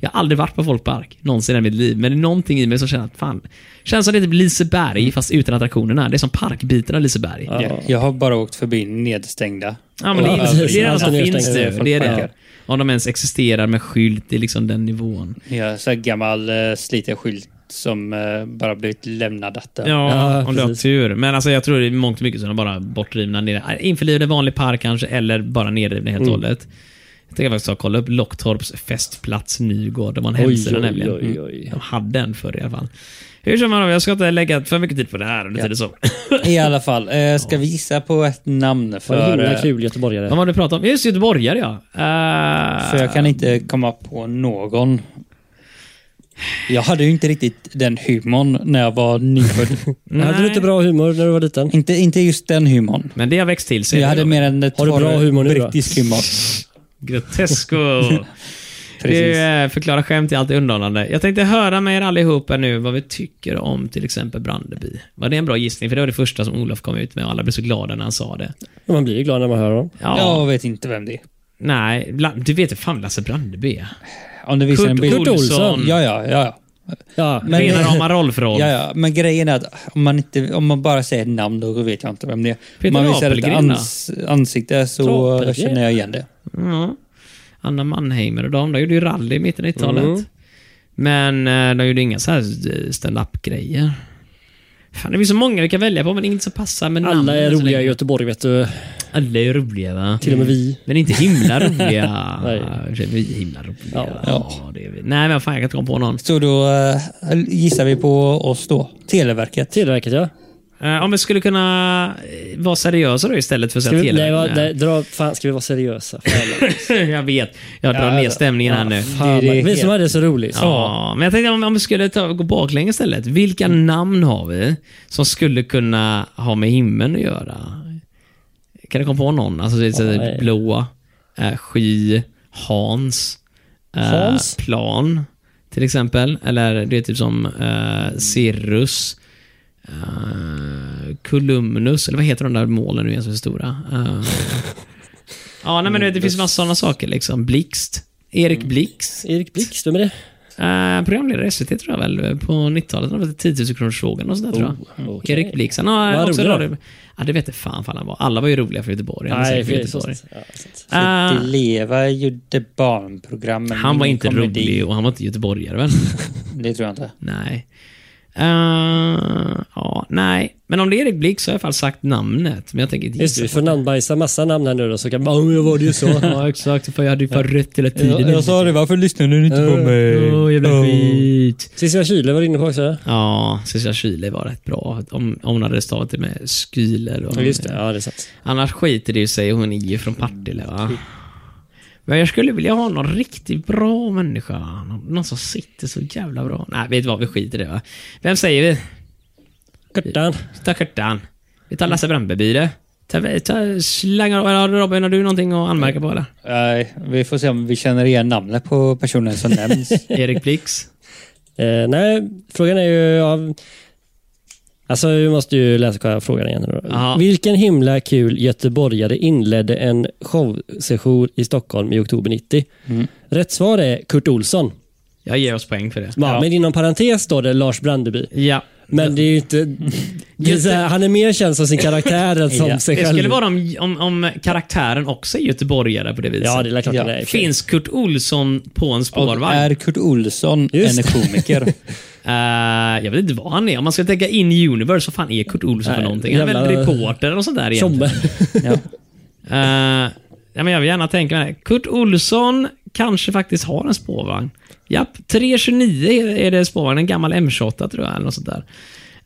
jag har aldrig varit på folkpark någonsin i mitt liv, men det är någonting i mig som känner att fan... Känns som det är typ Mm. Liseberg, fast utan attraktionerna. Det är som parkbiten av Liseberg. Ja, Ja, Jag har bara åkt förbi nedstängda. men det, Ja, alltså, är- precis. det är det enda som Alltid finns nedstängda nu. Det är det. folkparker. Om de ens existerar med skylt, det är liksom den nivån. Ja, så här gammal eh, sliten skylt som eh, bara blivit lämnad att dö. Ja, Ja, om du har precis. tur. Men alltså, jag tror det är mångt och mycket som är bara bortrivna. ner- Införlivade i vanlig park kanske, eller bara nedrivna helt och Mm. hållet. Jag tänker faktiskt ta och kolla upp Locktorps festplats Nygård. De har en hemsida oj, nämligen. Mm. oj, oj. De hade en förr i alla fall. Hur som helst, jag ska inte lägga för mycket tid på det här under Ja. tiden som. I alla fall, eh, ska vi gissa på ett namn Vad en för... himla eh, kul göteborgare. Vad var det du pratade om? Just göteborgare ja. Eh, För jag kan inte komma på någon. Jag hade ju inte riktigt den humorn när jag var nyfödd. Hade du inte bra humor när du var liten? inte, inte just den humorn. Men det har växt till sig. Jag hade mer en Har du bra torr humor nu då? brittisk humor. Grotesco. Precis. det är, eh, förklara skämt är alltid underhållande. Jag tänkte höra med er allihopa nu vad vi tycker om till exempel Brandeby. Var det en bra gissning? För det var det första som Olof kom ut med och alla blev så glada när han sa det. Man blir ju glad när man hör dem. Ja. Jag vet inte vem det är. Nej, bland- du vet ju fan Lasse Brandeby är. Om du visar en bild. Kurt Olsson. Ja, ja, ja. ja. Ja, Men- Rena rama Rolf-Rolf. Ja, ja, men grejen är att om man, inte, om man bara säger ett namn då vet jag inte vem det är. Peter Om man visar ett Apelgren, ans ansikte så Apelgren. känner jag igen det. Ja. Anna Mannheimer och de, de gjorde ju rally i mitten av Mm. 90-talet. Men eh, de gjorde inga så här eh, stand-up-grejer. Fan, det finns så många vi kan välja på, men inget som passar med namn Alla är än så roliga i länge. Göteborg vet du. Alla är roliga va? Till och med vi. Men inte himla roliga. Nej. Nej. Vi är himla roliga. Ja. Ja. det är vi. Nej, men fan jag kan inte komma på någon. Så då eh, gissar vi på oss då. Televerket. Televerket ja. Eh, om vi skulle kunna eh, vara seriösa då istället för att Ska säga vi, nej, va, televerket. nej, dra, fan, ska vi vara seriösa? Fan, jag vet. Jag drar Ja, ner alltså. stämningen här nu. fan, Det är det vi helt- som hade det så roligt. Ja, men jag tänkte om, om vi skulle ta, gå baklänges istället. Vilka namn har vi som skulle kunna ha med himlen att göra? Kan du komma på någon? Alltså, det är så här nej. blåa, eh, sky, Hans, eh, Hans? plan till exempel. Eller det är typ som eh, Cirrus, eh, Columnus, eller vad heter de där målen nu igen som är så stora? Eh, ja, nej, men du vet, det finns massa sådana saker liksom. Blixt, Erik Blixt. Erik Blix, vem är det? Eh, programledare i SVT tror jag väl, på 90-talet. Han var 10 000 kronorsfrågan och sådär tror jag. Mm. Erik Blix. Han har Vad också rolig då. radio. Ja, det vet jag fan fan han var. Alla var ju roliga för Göteborg. Han, är Nej, säkert för för det är Göteborg. sant. Ja, sant. Ah. Eh, Leva gjorde barnprogram. men han var ingen inte komedi. rolig och han var inte göteborgare väl? Det tror jag inte. nej. Eh, ja, nej. Men om det är Erik Blix så har jag i alla fall sagt namnet. Men jag tänker inte Just det, vi gissa. får namnbajsa massa namn här nu då, så kan man "Ja, jag var det ju så. Ja, exakt. För jag hade ju fan rätt hela tiden. det, varför lyssnade du inte på mig? Eh. Åh, jävla skit. Cecilia Kyle var du inne på också. Ja, Cecilia Kyle var rätt bra. Om, om hon hade stavat det med Skyle. eller vad hon- Ja, det är sant. Annars skiter det ju sig. Hon är ju från Partille va? Men jag skulle vilja ha någon riktigt bra människa. Någon någon som sitter så jävla bra. Nej, vet du vad? Vi skiter i det va? Vem säger vi? Kurtan. Vi tar Kurtan. Vi tar Lasse Brandeby det. Ta, ta, slangar, eller Robin, har du någonting att anmärka på eller? Nej, vi får se om vi känner igen namnet på personen som nämns. Erik Blix? Eh, nej, frågan är ju av... Alltså, vi måste ju läsa kolla frågan igen. nu Då. Ja. Vilken himla kul göteborgare inledde en showsession i Stockholm i oktober 90? Mm. Rätt svar är Kurt Olsson. Jag ger oss poäng för det. Ja. Men inom parentes står det Lars Brandeby. Ja. Men det är ju inte... Det är så här, han är mer känd som sin karaktär än som sig Det själv. skulle vara om, om, om karaktären också är göteborgare på det viset. Ja, det är klart Ja. han är. Finns Kurt Olsson på en Och spårvagn? är Kurt Olsson Just. en komiker? Eh, jag vet inte vad han är. Om man ska tänka in universe, vad fan är Kurt Olsson för Nej, någonting? Han är väl jävla- reporter eller något sånt där egentligen. Tjombe. ja. Eh, ja, men jag vill gärna tänka mig det. Kurt Olsson kanske faktiskt har en spårvagn. Japp, 329 är det spårvagn. En gammal M28 tror jag, eller något sånt där.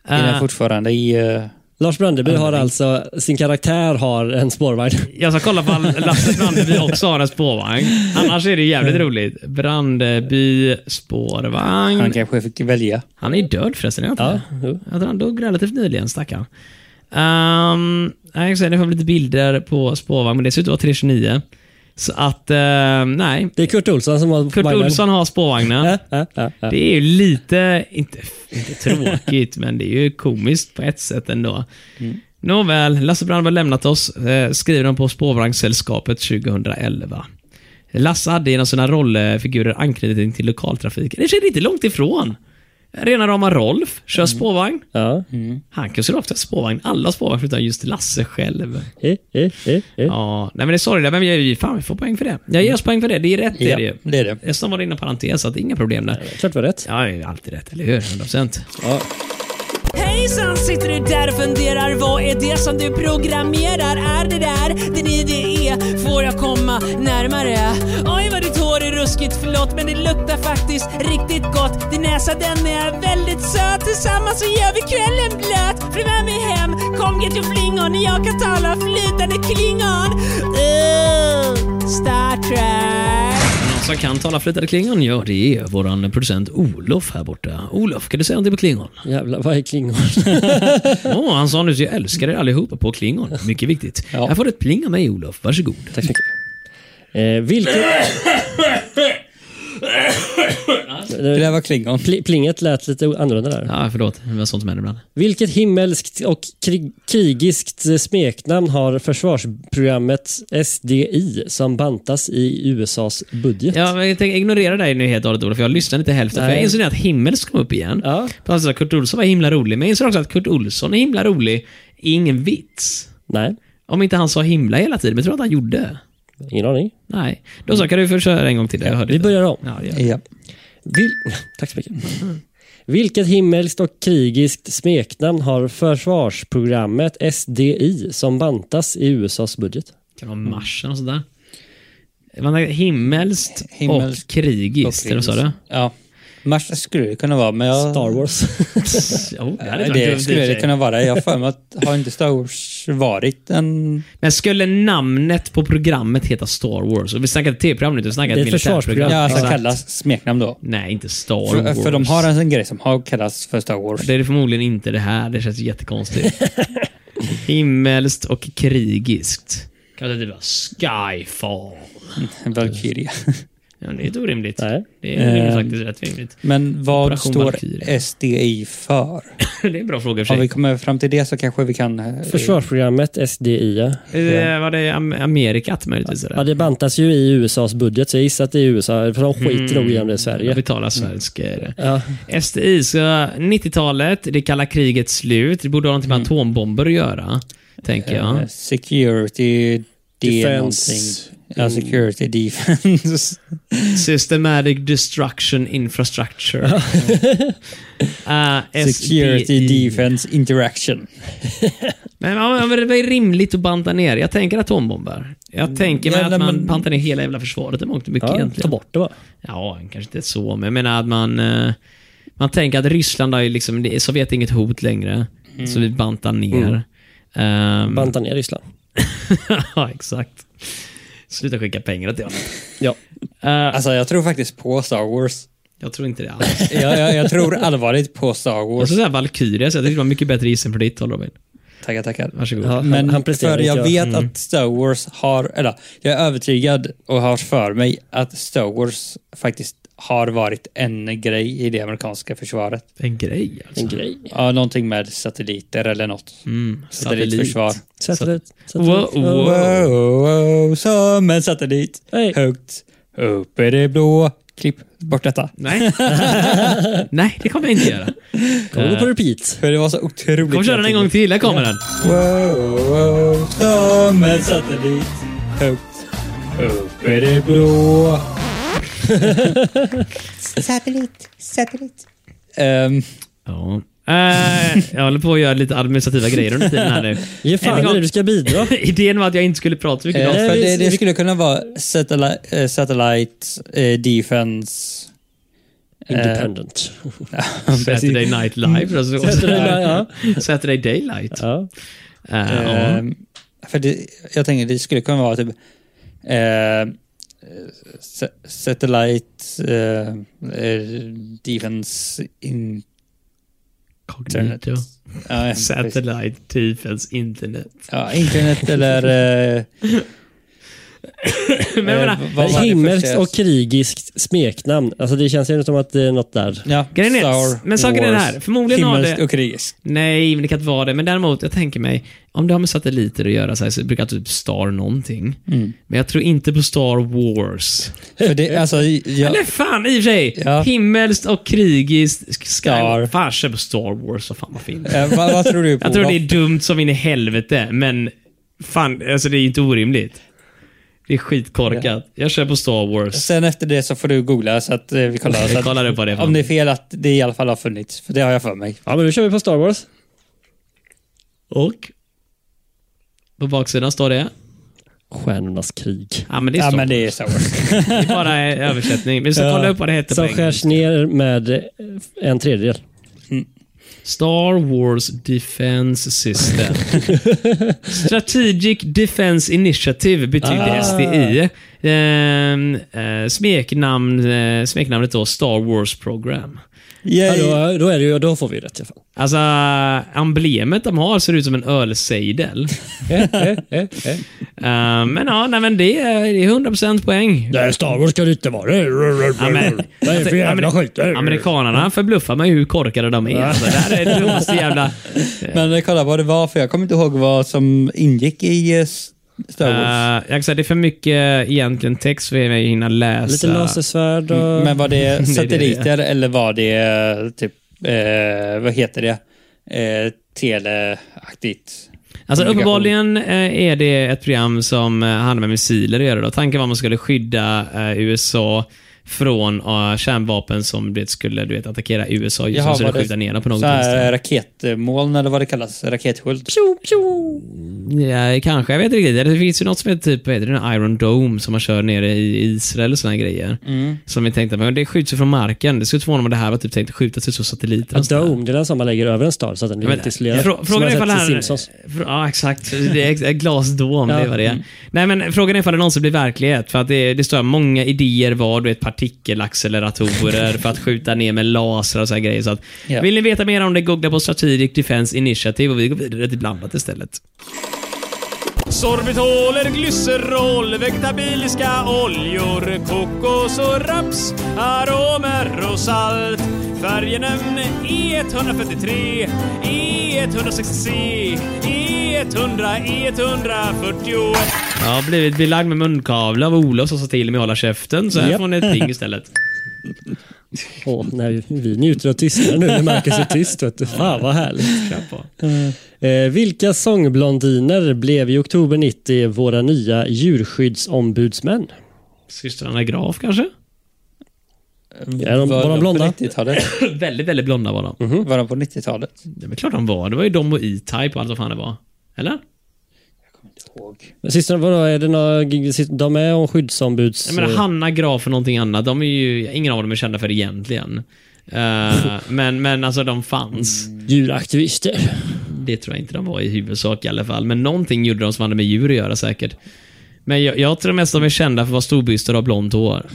Är Eh, den fortfarande i... eh, Lars Brandeby har alltså, sin karaktär har en spårvagn. jag ska kolla på Lasse Brandeby också har en spårvagn. Annars är det jävligt roligt. Brandeby han spårvagn. kanske fick välja. Han är död förresten, är han inte Ja, det? jo. Jag tror han dog relativt nyligen, stackarn. Um, jag ska säga, nu har vi lite bilder på spårvagn, men det ser ut att vara 329. Så att, eh, nej. Det är Kurt Olsson som har Kurt vagnen. Olsson har spårvagnen. Ja, ja, ja, ja. Det är ju lite, inte, inte tråkigt, men det är ju komiskt på ett sätt ändå. Nåväl, Lasse Brandberg har lämnat oss, eh, skriver de på Spårvagnssällskapet 2011. Lasse hade genom sina rollfigurer anknytning till lokaltrafiken. Det känns inte långt ifrån. Rena rama Rolf kör spårvagn. Ja. Han kunde ofta spårvagn, alla spårvagn förutom just Lasse själv. Eh, eh, eh, eh. Ja, nej men det är sorgligt, men vi, vi, fan, vi får poäng för det. Jag ger oss poäng för det, det är rätt. Är det ju. Ja, det är det. Eftersom var det inom parentes, så att det är inga problem där. Klart var rätt. Ja, det är alltid rätt, eller hur? 100%. Hejsan, sitter du där och funderar? Vad är det som du programmerar? Är det där din idé? Får jag komma närmare? Oj, vad ditt hår är ruskigt, förlåt, men det luktar faktiskt riktigt gott. Din näsa, den är väldigt söt. Tillsammans så gör vi kvällen blöt. Följ med mig hem, kom get your flingon. Jag kan tala flytande klingon. Uh, Star Trek. Någon som kan tala flytande klingon? Ja, det är våran producent Olof här borta. Olof, kan du säga någonting på klingon? Jävlar, vad är klingor? Åh, han sa nu så jag älskar er allihopa på klingon. Mycket viktigt. Ja. Här får du ett pling av mig Olof, varsågod. Tack så mycket. Eh, vilken... Det där var Klingon. Pl- plinget lät lite annorlunda där. Ja, förlåt. Det var sånt som händer ibland. Vilket himmelskt och krig- krigiskt smeknamn har försvarsprogrammet SDI som bantas i USAs budget? Ja, men jag tänker ignorera dig nu helt och hållet Olof, för jag lyssnade inte hälften. För Nej. jag insåg att Himmels kom upp igen. Ja. Precis, att Kurt Olsson var himla rolig, men jag insåg också att Kurt Olsson är himla rolig är ingen vits. Nej, Om inte han sa himla hela tiden, men jag tror att han gjorde. ingen aning. Nej. Då så, kan du försöka en gång till? Jag hörde Vi inte. börjar om. Ja, det gör vi. Ja. Vil- Tack så mycket. Vilket himmelskt och krigiskt smeknamn har försvarsprogrammet SDI som bantas i USAs budget? Kan Mm. det vara marschen och sådär? Man tänker himmelskt, Himmelskt och krigiskt, eller vad sa du? Ja. Mars skulle det kunna vara, men jag... Star Wars. Jo, det Ja, hade det, varit kul om skulle DJ. det kunna vara. Jag har för mig att har inte Star Wars varit en... Men skulle namnet på programmet heta Star Wars? Och vi snackar inte tv-program nu, vi snackar Det är ett ett försvarsprogram. militärprogram. Ja, alltså Exakt. kallas smeknamn då. Nej, inte Star För, Wars. för de har en sån grej som har kallats för Star Wars. Det är det förmodligen inte det här. Det känns jättekonstigt. Himmelskt och krigiskt. Kanske typ bara Skyfall. Valkyria. Ja, men det är inte orimligt. Nej. Det är rimligt, Eh. faktiskt rätt rimligt. Men vad Operation står Valkyria. SDI för? Det är en bra fråga i och för Om vi sig. kommer fram till det så kanske vi kan... eh, Försvarsprogrammet SDI. ja. Eh, Var det Am- Amerikat möjligtvis? Ja, Eller? det bantas ju i USAs budget, så jag gissar att det är USA, för de skiter nog i Mm. Ja, om det är Vi Sverige. talar eh, svenska. i det. Ja. SDI, så 90-talet, det kalla krigets slut. Det borde ha något med atombomber att göra, tänker jag. Mm. eh, Security... Det är Defense. någonting. Oh. Ja, security defense. Systematic Destruction Infrastructure. Eh, security SDI. defense interaction. Men, ja, men det är rimligt att banta ner. Jag tänker atombomber. Jag tänker mig Ja, att Mm, nej, man men- bantar ner hela jävla försvaret i mångt och mycket Ja, egentligen. ta bort det Mm. bara. Ja, kanske inte så, men jag menar att man... eh, Man tänker att Ryssland har ju liksom... det- Sovjet är inget hot längre, så Mm. vi bantar ner. Ehm, Banta ner Ryssland. ja, exakt. Sluta skicka pengar till honom. Ja. Eh, Alltså jag tror faktiskt på Star Wars. jag tror inte det alls. Jag, jag, jag tror allvarligt på Star Jag Wars. skulle säga Valkyria, så jag tyckte det var mycket bättre gissning för ditt håll Robin. Tackar, tackar. Varsågod. Ja, han- Men han presterar för inte, jag ja. vet att Star Wars har, eller jag är övertygad och har för mig att Star Wars faktiskt har varit en grej i det amerikanska försvaret. En grej alltså. En grej. Ja, någonting med satelliter eller något. Mm, Satellitförsvar. Satellit. Wow, Satellit. wow. Wow, wow, som en satellit. Hej. Högt upp i det blå. Klipp bort detta. Nej. Nej, det kommer jag inte göra. Kommer Eh. gå på repeat. För det var så otroligt. Kom köra den en gång till, här kommer den. Wow, wow, som en satellit. Högt upp i det blå. Satellit, satellit. Ehm, Ja. Eh, jag håller på att göra lite administrativa grejer under tiden här nu. Ge Än en fan i gång. det, du ska bidra. Idén var att jag inte skulle prata så mycket Eh, om Nej, för vi- det, det vi- skulle kunna vara satellite, eh, satellite eh, defense. Independent. Saturday Night Live. Alltså, och Saturday sådär. Night, Saturday Daylight. Ja. Eh, ja. Ehm, för det, jag tänker det skulle kunna vara typ eh, sa- satellite eh, eh, defense in, Cognito. ja, ja, precis. Satellite Defense Internet. ja, internet eller eh, Men jag menar, vad var det Himmelskt första? och krigiskt smeknamn. Alltså det känns ju som att det är något där. ja, Grejen är- Star men saken är det Wars, här, förmodligen har himmelskt det- och krigiskt. Nej, men det kan inte vara det. Men däremot, jag tänker mig, om det har med satelliter att göra så, här, så brukar jag typ Star någonting. Mm. Men jag tror inte på Star Wars. För det, alltså, jag, Eller fan, i och för sig! Ja. Himmelskt och krigiskt. Sky... Star. Fan, kör på Star Wars. Vad fan vad fint. eh, vad, vad tror du på? Jag tror Vad- det är dumt som in i helvete, men fan, alltså det är ju inte orimligt. Det är skitkorkat. Jag kör på Star Wars. Sen efter det så får du googla så att eh, vi kollar. Så Jag att, kollar upp vad det är för om det är fel att det i alla fall har funnits. För det har jag för mig. Ja, men nu kör vi på Star Wars. Och? På baksidan står det? Stjärnornas krig. Ja, men det är Ja, Star men det är Star Wars. Det är bara en översättning. Vi ska Ja, kolla upp vad det heter på Som engelska. skärs ner med eh, en tredjedel. Star Wars Defense System. Strategic Defense Initiative betyder Ah. SDI. Ehm, eh, smeknamn, eh, smeknamnet då Star Wars Program. Ja, Yay. då, då, är det ju, då får vi rätt i alla fall. Alltså, emblemet de har ser ut som en ölsejdel. Ehm, men ja, nej, men det är, det är 100% poäng. Nej, Star Wars kan det inte vara. Ja, men, alltså, Vad är det för jävla Amer- skit? Amerikanerna förbluffar mig hur korkade de är. Alltså, det här är det dummaste jävla... Men eh, kolla vad det var, för jag kommer inte ihåg vad som ingick i eh, Star Wars. Eh, jag kan säga, det är för mycket egentligen text för att hinna läsa. Lite lasersvärd Mm, och... Men var det Eh, det. satelliter eller var det eh, typ, eh, vad heter det? Eh, teleaktigt. Alltså Kommunikation. uppenbarligen eh, är det ett program som eh, handlar med missiler att göra. Då. Tanken var att man skulle skydda eh, USA från eh, kärnvapen som det skulle du vet, attackera USA just Jaha, Liksom, så det var det skjuter ner dem på något Så vänster. här eh, raketmoln eller vad det kallas. Raketsköld. Ja, kanske, jag vet inte riktigt. Eller Det finns ju något som heter typ, vad heter det, Iron Dome som man kör nere i Israel och såna här grejer. Mm. Som vi tänkte, men det skjuts ju från marken. Det skulle inte förvåna mig om det här var typ tänkt att skjutas ut som satelliter. och A sånt där. dome, det är den som man lägger över en stad så att den blir Men, helt isolerad. frå- Som man frågan är har ifall sett i det här- Simpsons. fr- Ja, exakt. Det är ex- ett glasdom, det Ja. Mm. är vad det är. Nej, men frågan är ifall det någonsin blir verklighet. För att det, det står många idéer var, du vet partikelacceleratorer för att skjuta ner med laser och så här grejer. Så att, Ja. Vill ni veta mer om det, googla på Strategic Defense Initiative och vi går vidare till blandat istället. Sorbitoler, glycerol, vegetabiliska oljor, kokos och raps, aromer och salt. Färgenämn E143, E160, E100, E141. Jag har blivit belagd med munkavle av Olof som sa till mig att hålla käften, så här Japp. får ni ett ping istället. Åh, nej, vi njuter av tystnaden nu när Marcus är tyst. Vet du. Fan vad härligt. Klapp på. Eh, vilka sångblondiner blev i oktober 90 våra nya djurskyddsombudsmän? Systrarna Graf kanske? Är de, var de på blonda? 90-talet? väldigt, väldigt blonda var de. Var de på 90-talet? Det är klart de var. Det var ju de och E-Type och allt vad fan det var. Eller? Ihåg. Systrarna, vadå, är det några, de är om skyddsombuds... Jag menar Hanna Graf och någonting annat. De är ju, ingen av dem är kända för det egentligen. Eh, men, men alltså de fanns. Mm. djuraktivister. Det tror jag inte de var i huvudsak i alla fall. Men någonting gjorde de som hade med djur att göra säkert. Men jag, jag tror mest de är kända för att vara storbystade och ha blont hår.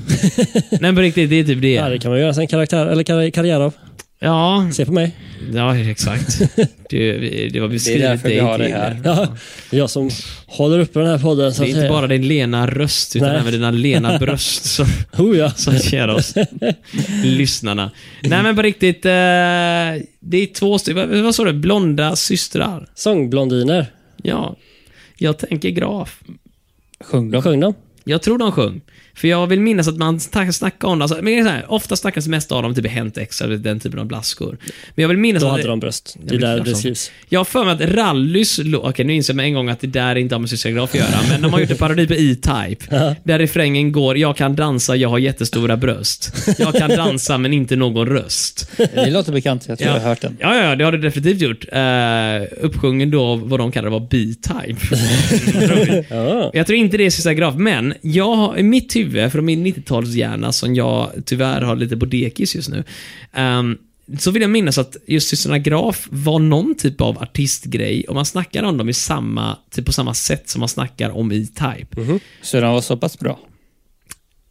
Nej men på riktigt, det är typ Ja, det det. kan man göra sen karaktär, eller kar- karriär av. Ja, Se på mig. ja exakt. Det, det var beskrivet därför vi dig har det till. här. Ja, jag som håller uppe den här podden. Så Det är inte bara din lena röst, utan Nej. även dina lena bröst som, Oh, ja. som ger oss lyssnarna. Nej men på riktigt, eh, det är två stycken, vad- vad sa du? Blonda systrar? Sångblondiner. Ja. Jag tänker graf. Sjöng de? Sjöng de? Jag tror de sjöng. För jag vill minnas att man ta- snackade om det. Alltså, men det är så här, ofta snackas mest av dem typ i Hent X, eller den typen av blaskor. Men jag vill minnas Då att... hade de bröst. Det är men där klart det som- skrivs. Jag har för mig att rallys lå- Okej, nu inser jag med en gång att det där inte har med sysselgraf att göra, men de har gjort en parodi på E-Type. Där refrängen går “Jag kan dansa, jag har jättestora bröst”. “Jag kan dansa, men inte någon röst”. Det låter bekant. Jag tror jag har hört den. Ja, ja, det har det definitivt gjort. Uh, uppsjungen då av vad de kallar var B-Type. Ja. Jag tror inte det är Sista Graf, men jag har, i mitt huvud, från min 90-talshjärna som jag tyvärr har lite på dekis just nu, ehm, så vill jag minnas att just systrarna Graf var någon typ av artistgrej och man snackar om dem i samma, typ på samma sätt som man snackar om E-Type. Så de var så pass bra.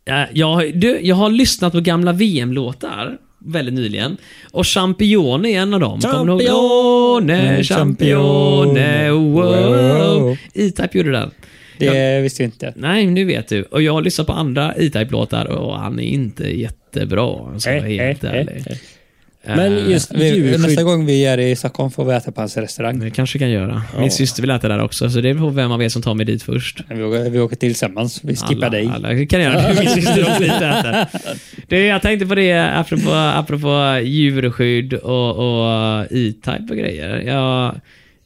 Eh, jag, du, jag har lyssnat på gamla VM-låtar väldigt nyligen och Champion är en av dem. Kommer du ihåg? Mm, Champione, champione, wow. E-Type gjorde den. Det visste jag inte. Nej, nu vet du. Och jag har lyssnat på andra E-Type-låtar och han är inte jättebra. Så jag är helt eh, ärlig. Eh, Men just Vi, djurskydd. nästa gång vi är i Stockholm får vi äta på hans restaurang. Det kanske kan göra. Min syster vill äta där också, så det beror på vem av er som tar mig dit först. Vi åker, vi åker tillsammans. Vi skippar alla, dig. Alla kan göra det. Min syster också inte äter. Det, jag tänkte på det apropå, apropå djurskydd och, och E-Type och grejer. Jag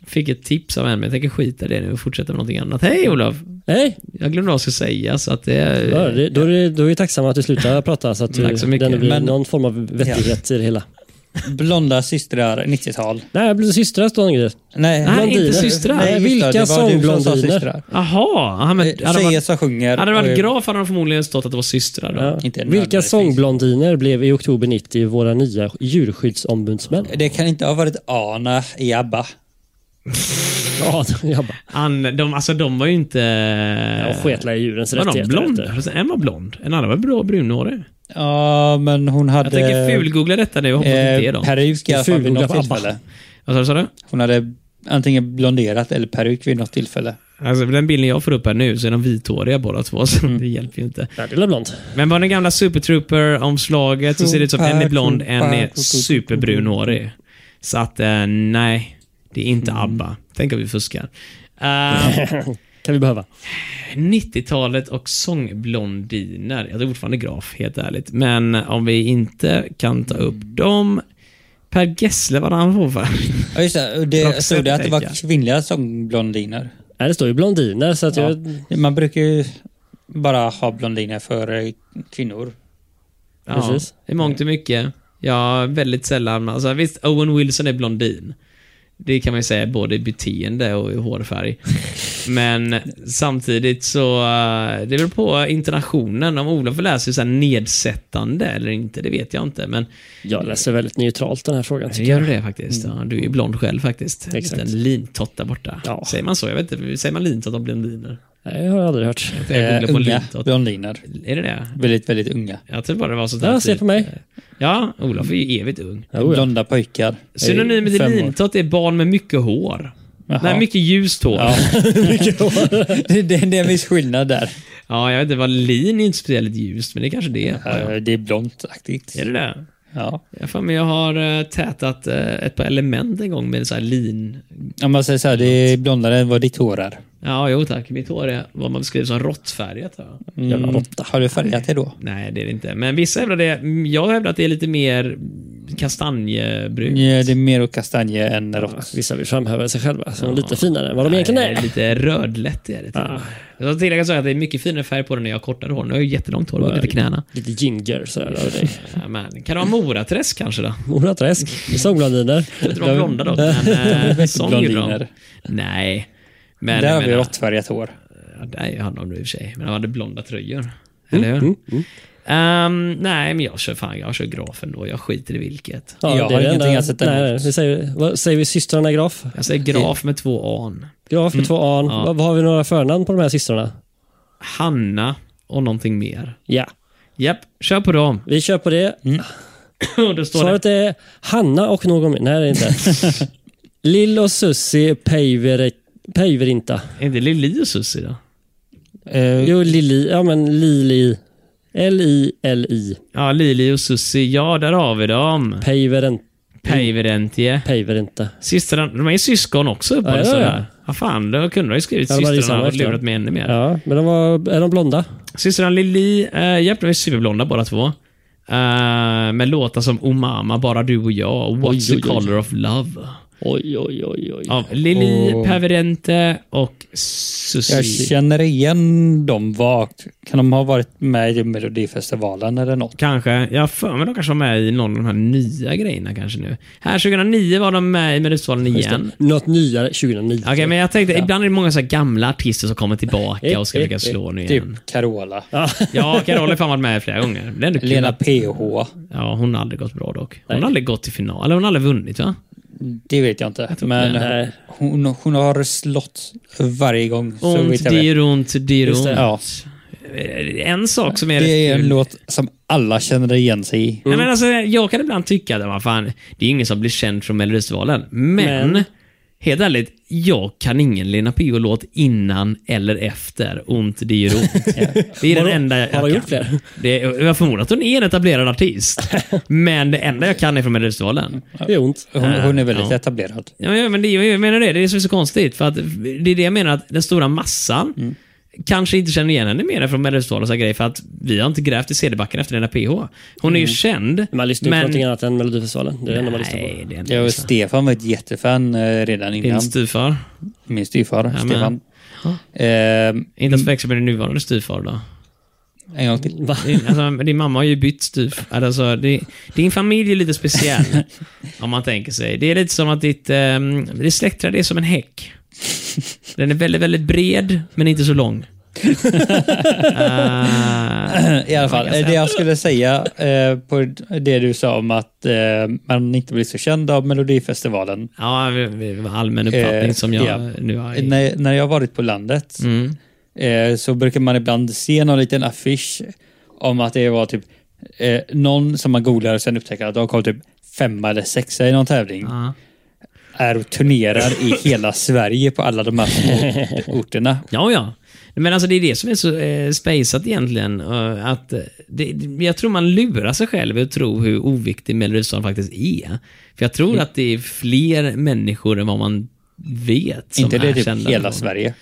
fick ett tips av en, men jag tänker skita i det nu och fortsätta med någonting annat. Hej Olof! Nej, Jag glömde vad jag skulle säga, så att det... ja, det, då, är, det- då är vi tacksamma att du slutar prata så att du, Tack så mycket. det blir Men- någon form av vettighet i det hela. Blonda systrar, 90-tal. Nej, jag blir systrar står det någon Nej, Nej, blondiner. inte systrar. Nej, just Vilka det, det var du som sa sångblondiner? systrar. Jaha! Ja, men- Eh, Tjejer som sjunger. Hade det och- varit graf hade de förmodligen stått att det var systrar då. ja. Inte Vilka nödvändigtvis. sångblondiner blev i oktober 90 våra nya djurskyddsombudsmän? Det kan inte ha varit Ana i ABBA. Ja, jag bara, An, de, alltså de var ju inte... jag sketlar i djurens Eh, var de rättigheter. blonda? vet Fast En var blond, en annan var bra brunhårig. Ja, men hon hade... Jag tänker fulgoogla detta nu och hoppas att det inte är eh, dem. peruk i alla fall vid Fulgoogla något på ABBA. tillfälle. Vad sa du, sa du? Hon hade antingen blonderat eller peruk vid något tillfälle. Alltså, den bilden jag får upp här nu så är de vithåriga båda två, så det hjälper ju inte. du. Ja, det är blond. Men på den gamla Super Trooper-omslaget så ser det ut som en är blond, en är superbrunhårig. Så att, eh, nej. Det är inte ABBA. Tänk om vi fuskar. Eh, Kan vi behöva. 90-talet och sångblondiner. Jag tror fortfarande Graf, helt ärligt. Men om vi inte kan ta upp dem. Per Gessle var det han var för. Ja, just det. Roxette, Det stod det att det var tänker kvinnliga sångblondiner. Nej, det står ju blondiner så att Ja. jag... Man brukar ju bara ha blondiner för eh, kvinnor. Ja, Precis. I mångt och mycket. Ja, väldigt sällan. Alltså, visst, Owen Wilson är blondin. Det kan man ju säga både i beteende och i hårfärg. Men samtidigt så, eh, det beror på intonationen. Om Olof läser så här nedsättande eller inte, det vet jag inte. Men Jag läser väldigt neutralt den här frågan. tycker Mm. gör du det faktiskt? Ja, du är ju blond själv faktiskt. Exakt. En liten lintott där borta. Ja. Säger man så? Jag vet inte. Säger man lintott om blondiner? jag. Nej, Det har jag aldrig hört. Jag Eh, googlar på unga lintott. blondiner. Är det det? Väldigt, väldigt unga. Jag tror bara det var sånt där Ja, se typ- på mig. Ja, Olof är ju evigt ung. Jo, ja. Blonda pojkar. Synonymen till Fem år. lintott är barn med mycket hår. Jaha. Nej, mycket ljust hår. Ja. det, det, det är en viss skillnad där. jag vet inte vad lin är inte speciellt ljust, men det är kanske det är. Eh, Det är blontaktigt. Är det det? Ja. Jag för mig jag har eh, tätat eh, ett par element en gång med så här lin... Om man säger så här, det är blondare än vad ditt hår är. Ja, jo tack. Mitt hår är vad man beskriver som råttfärgat. va? Mm. Har du färgat det då? Nej, det är det inte. Men vissa hävdar det. mm, Jag hävdar att det är lite mer kastanjebrunt. Ja, det är mer åt kastanje än rått. Vissa vill framhäva sig själva som lite finare än vad de egentligen Nej, det är är. Lite rödlätt är det. Ah. Jag ska tillägga så att det är mycket finare färg på den när jag har kortare hår. Nu har jag ju jättelångt hår, går ner till knäna. Lite ginger sådär över dig. Ja, Eh, men, kan det vara Moraträsk kanske då? Mora Träsk, somnblandiner. Jag tror de var blonda dock, men eh, sång gjorde de. blondiner. Nej. Men Där jag har vi menar- råttfärgat hår. Ja, där hade de det i och för sig. Men de hade blonda tröjor. Mm, Eller hur? Ehm, nej, men jag kör fan, jag kör graf ändå. Jag skiter i vilket. Ja, Jag det är har det ingenting enda- att sätta Nej, emot. nej, vi säger, vad säger vi systrarna Graf? Jag säger graf med två an. Graf med två an. Ja. Vad, vad har vi några förnamn på de här systrarna? Hanna och någonting mer. Ja, Japp, kör på dem. vi kör på det. Och då står det... Svaret är Hanna och någon mer. Nej, det är inte. Lill och Sussi Päivere- Päiverinta. Är det Lili och Susie då? Eh, Jo, Lili. Ja, men Lili. L-I-L-I. Ja, Lili och Susie. Ja, där har vi dem. Päiveren- Päiverentie. Päiverinta. Systrarna, de är ju syskon också uppe Ja, ja, ja, sådär. Ja. fan, då kunde de ju skrivit Ja, de hade ju systrarna samma och lurat efternamn. mig ännu mer. Ja, men de var, är de blonda? Systrarna Lili, eh, japp, de är superblonda båda två. Eh, med låtar som Omama, Bara du och jag, och What's Oj, the oj, oj. color of love. Oj, oj, oj, oj. Av Lili, Åh. Päverente och jag Susie. känner igen dem vagt. Kan de ha varit med i Melodifestivalen eller något? Kanske. Jag har för mig de kanske var med i någon av de här nya grejerna kanske nu. Här 2009 var de med i Melodifestivalen igen. Något nyare 2009. Okej, men jag tänkte, ibland är det många så här gamla artister som kommer tillbaka och ska Eh, försöka slå nu igen. Typ Carola. Ja, Carola har fan varit med flera gånger. Det är ändå kul Lena att- PH. Ja, hon har aldrig gått bra dock. Hon har Nej. aldrig gått till final. Eller hon har aldrig vunnit va? Det vet jag inte. Men nej. hon, hon har slått varje gång. så Ont, vitt jag vet. dyr, ont, dyr, Just ont. Eh, det. Ja. En sak som är Det rätt är en kul. låt som alla känner igen sig i. Nej, men alltså, jag kan ibland tycka att vad fan, det är ingen som blir känd från Melodifestivalen. Men, Men. helt ärligt, jag kan ingen Lena Pio-låt innan eller efter Ont, det gör ont. Det är den Har- enda jag har hon kan. gjort fler? Det, jag förmodar att hon är en etablerad artist. men det enda jag kan är från Melodifestivalen. Det är ont. Hon, hon är väldigt Ja. etablerad. Ja, men- men det, jag menar det. Det är så, så konstigt. För att det är det jag menar att den stora massan Mm. kanske inte känner igen henne mer från Melodifestivalen och så här grejer. För att vi har inte grävt i CD-backen efter den där PH. Hon är ju känd. Mm. Man lyssnar ju på någonting annat än Melodifestivalen. Det är det enda man lyssnar på. Nej, det är inte Jag och jag Stefan var ett jättefan eh, redan innan. Din styvfar. Min styvfar, men- Stefan. Ehm, Mm. Inte att förväxla med din nuvarande styvfar då. en gång till. Va? Din, alltså, din mamma har ju bytt styvfar. Alltså, det- din familj är lite speciell. om man tänker sig. Det är lite som att ditt, um, ditt släktträd är som en häck. Den är väldigt, väldigt bred, men inte så lång. Eh, I alla fall, eh, det jag skulle säga eh, på det du sa om att eh, man inte blir så känd av Melodifestivalen. Ja, vi- vi- det var allmän uppfattning Eh, som jag ja. nu har. i- När, när jag har varit på landet Mm. eh, så brukar man ibland se någon liten affisch om att det var typ eh, någon som man googlar och sen upptäcker att de kom typ femma eller sexa i någon tävling. Ja. Är och turnerar i hela Sverige på alla de här små orterna. ja, ja. Men alltså det är det som är så eh, spaceat egentligen. eh, att eh, det, det- jag tror man lurar sig själv att tro hur oviktig Melodifestivalen faktiskt är. För jag Mm. tror att det är fler människor än vad man vet som inte det är är typ kända hela från- Sverige.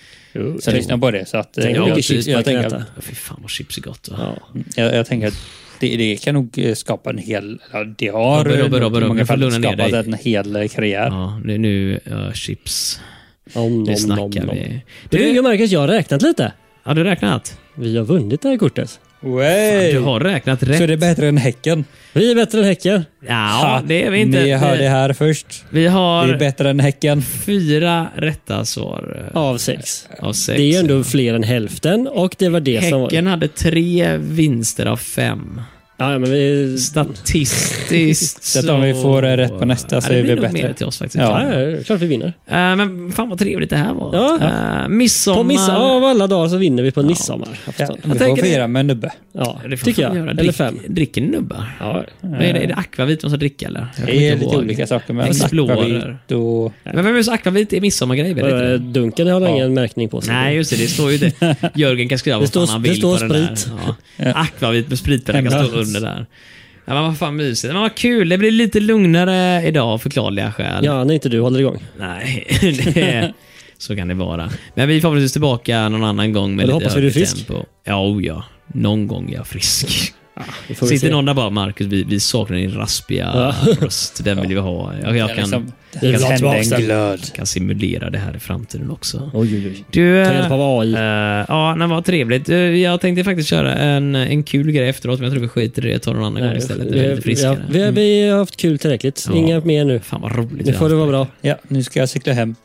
Så lyssnar på det. Så att, eh, Tänk jag, hur jag, mycket chips man kan tänker äta. att, Ja, Fy fan vad chips är gott. Va? Ja. jag, jag tänker att det, det kan nog eh, skapa en hel... Ja, det har Robert, Robert, nog i Robert, många nu får du fall lugna ner skapat dig. en hel eh, karriär. Ja, nu, nu ja, chips. Om, Nu om, snackar om, om. vi. Men du, Du, jag märker att jag har räknat lite. har du räknat? Vi har vunnit det här kortet. Way. Du har räknat rätt. Så det är bättre än Häcken? Vi är bättre än Häcken. Ja, det är vi inte. Ni hör det här först. Vi har Det är bättre än Häcken. fyra rätta svar eh, Av sex. av sex. Det är ju ändå fler än hälften och det var det som var... Häcken hade tre vinster av fem. Ja, ja, men vi... Statistiskt Så att om vi får det rätt på nästa så Ja, det är blir vi nog bättre. mer till oss faktiskt. Ja, Ja. ja, klart vi vinner. Eh, men fan vad trevligt det här var. Ja. Eh, midsommar. På midsommar, av alla dagar så vinner vi på midsommar. Ja, Ja, vi får tänker det. fira med en nubbe. ja Det det får tycker fan jag. göra. Eller Drick- fem. Dricker ni nubbar? Ja. Vad är det? Är det akvavit man ska dricka eller? Jag kommer Det är inte lite ihåg. olika saker med Explorer. akvavit och... Men vem är så akvavit? Det är midsommargrej, vet inte Eh, det? Dunken har ingen märkning på sig. Nej, just det. Det står ju det. Jörgen kan skriva Det vad fan står- han det vill står på den sprit. där. Ja. Akvavit med spritpenna kan stå Hemma. under där. Ja, men vad fan mysigt. Men vad kul. Det blir lite lugnare idag av förklarliga skäl. Ja, när inte du håller igång. Nej, det, så kan det vara. Men vi är förhoppningsvis tillbaka någon annan gång med Men lite då hoppas vi du är högre frisk. tempo. Ja, oh ja. Någon gång är jag frisk. Vi får väl Sitter se. någon där bara, Marcus, vi, vi saknar din raspiga röst. Den vill vi ha. Jag, jag Ja, kan, liksom, det vill kan ha hända tillbaks den. en glöd. kan simulera det här i framtiden också. Oj, oj, oj. Du, Ta hjälp av AI. eh, ja, nej, vad trevligt. Eh, jag tänkte faktiskt köra en, en kul grej efteråt, men jag tror vi skiter i det och tar någon annan gång istället. Det är lite eh, vi, ja, friskare. vi, vi har haft kul tillräckligt. Ja. Inga mer nu. Fan vad roligt Nu vi har får det vara bra. Ja, nu ska jag cykla hem.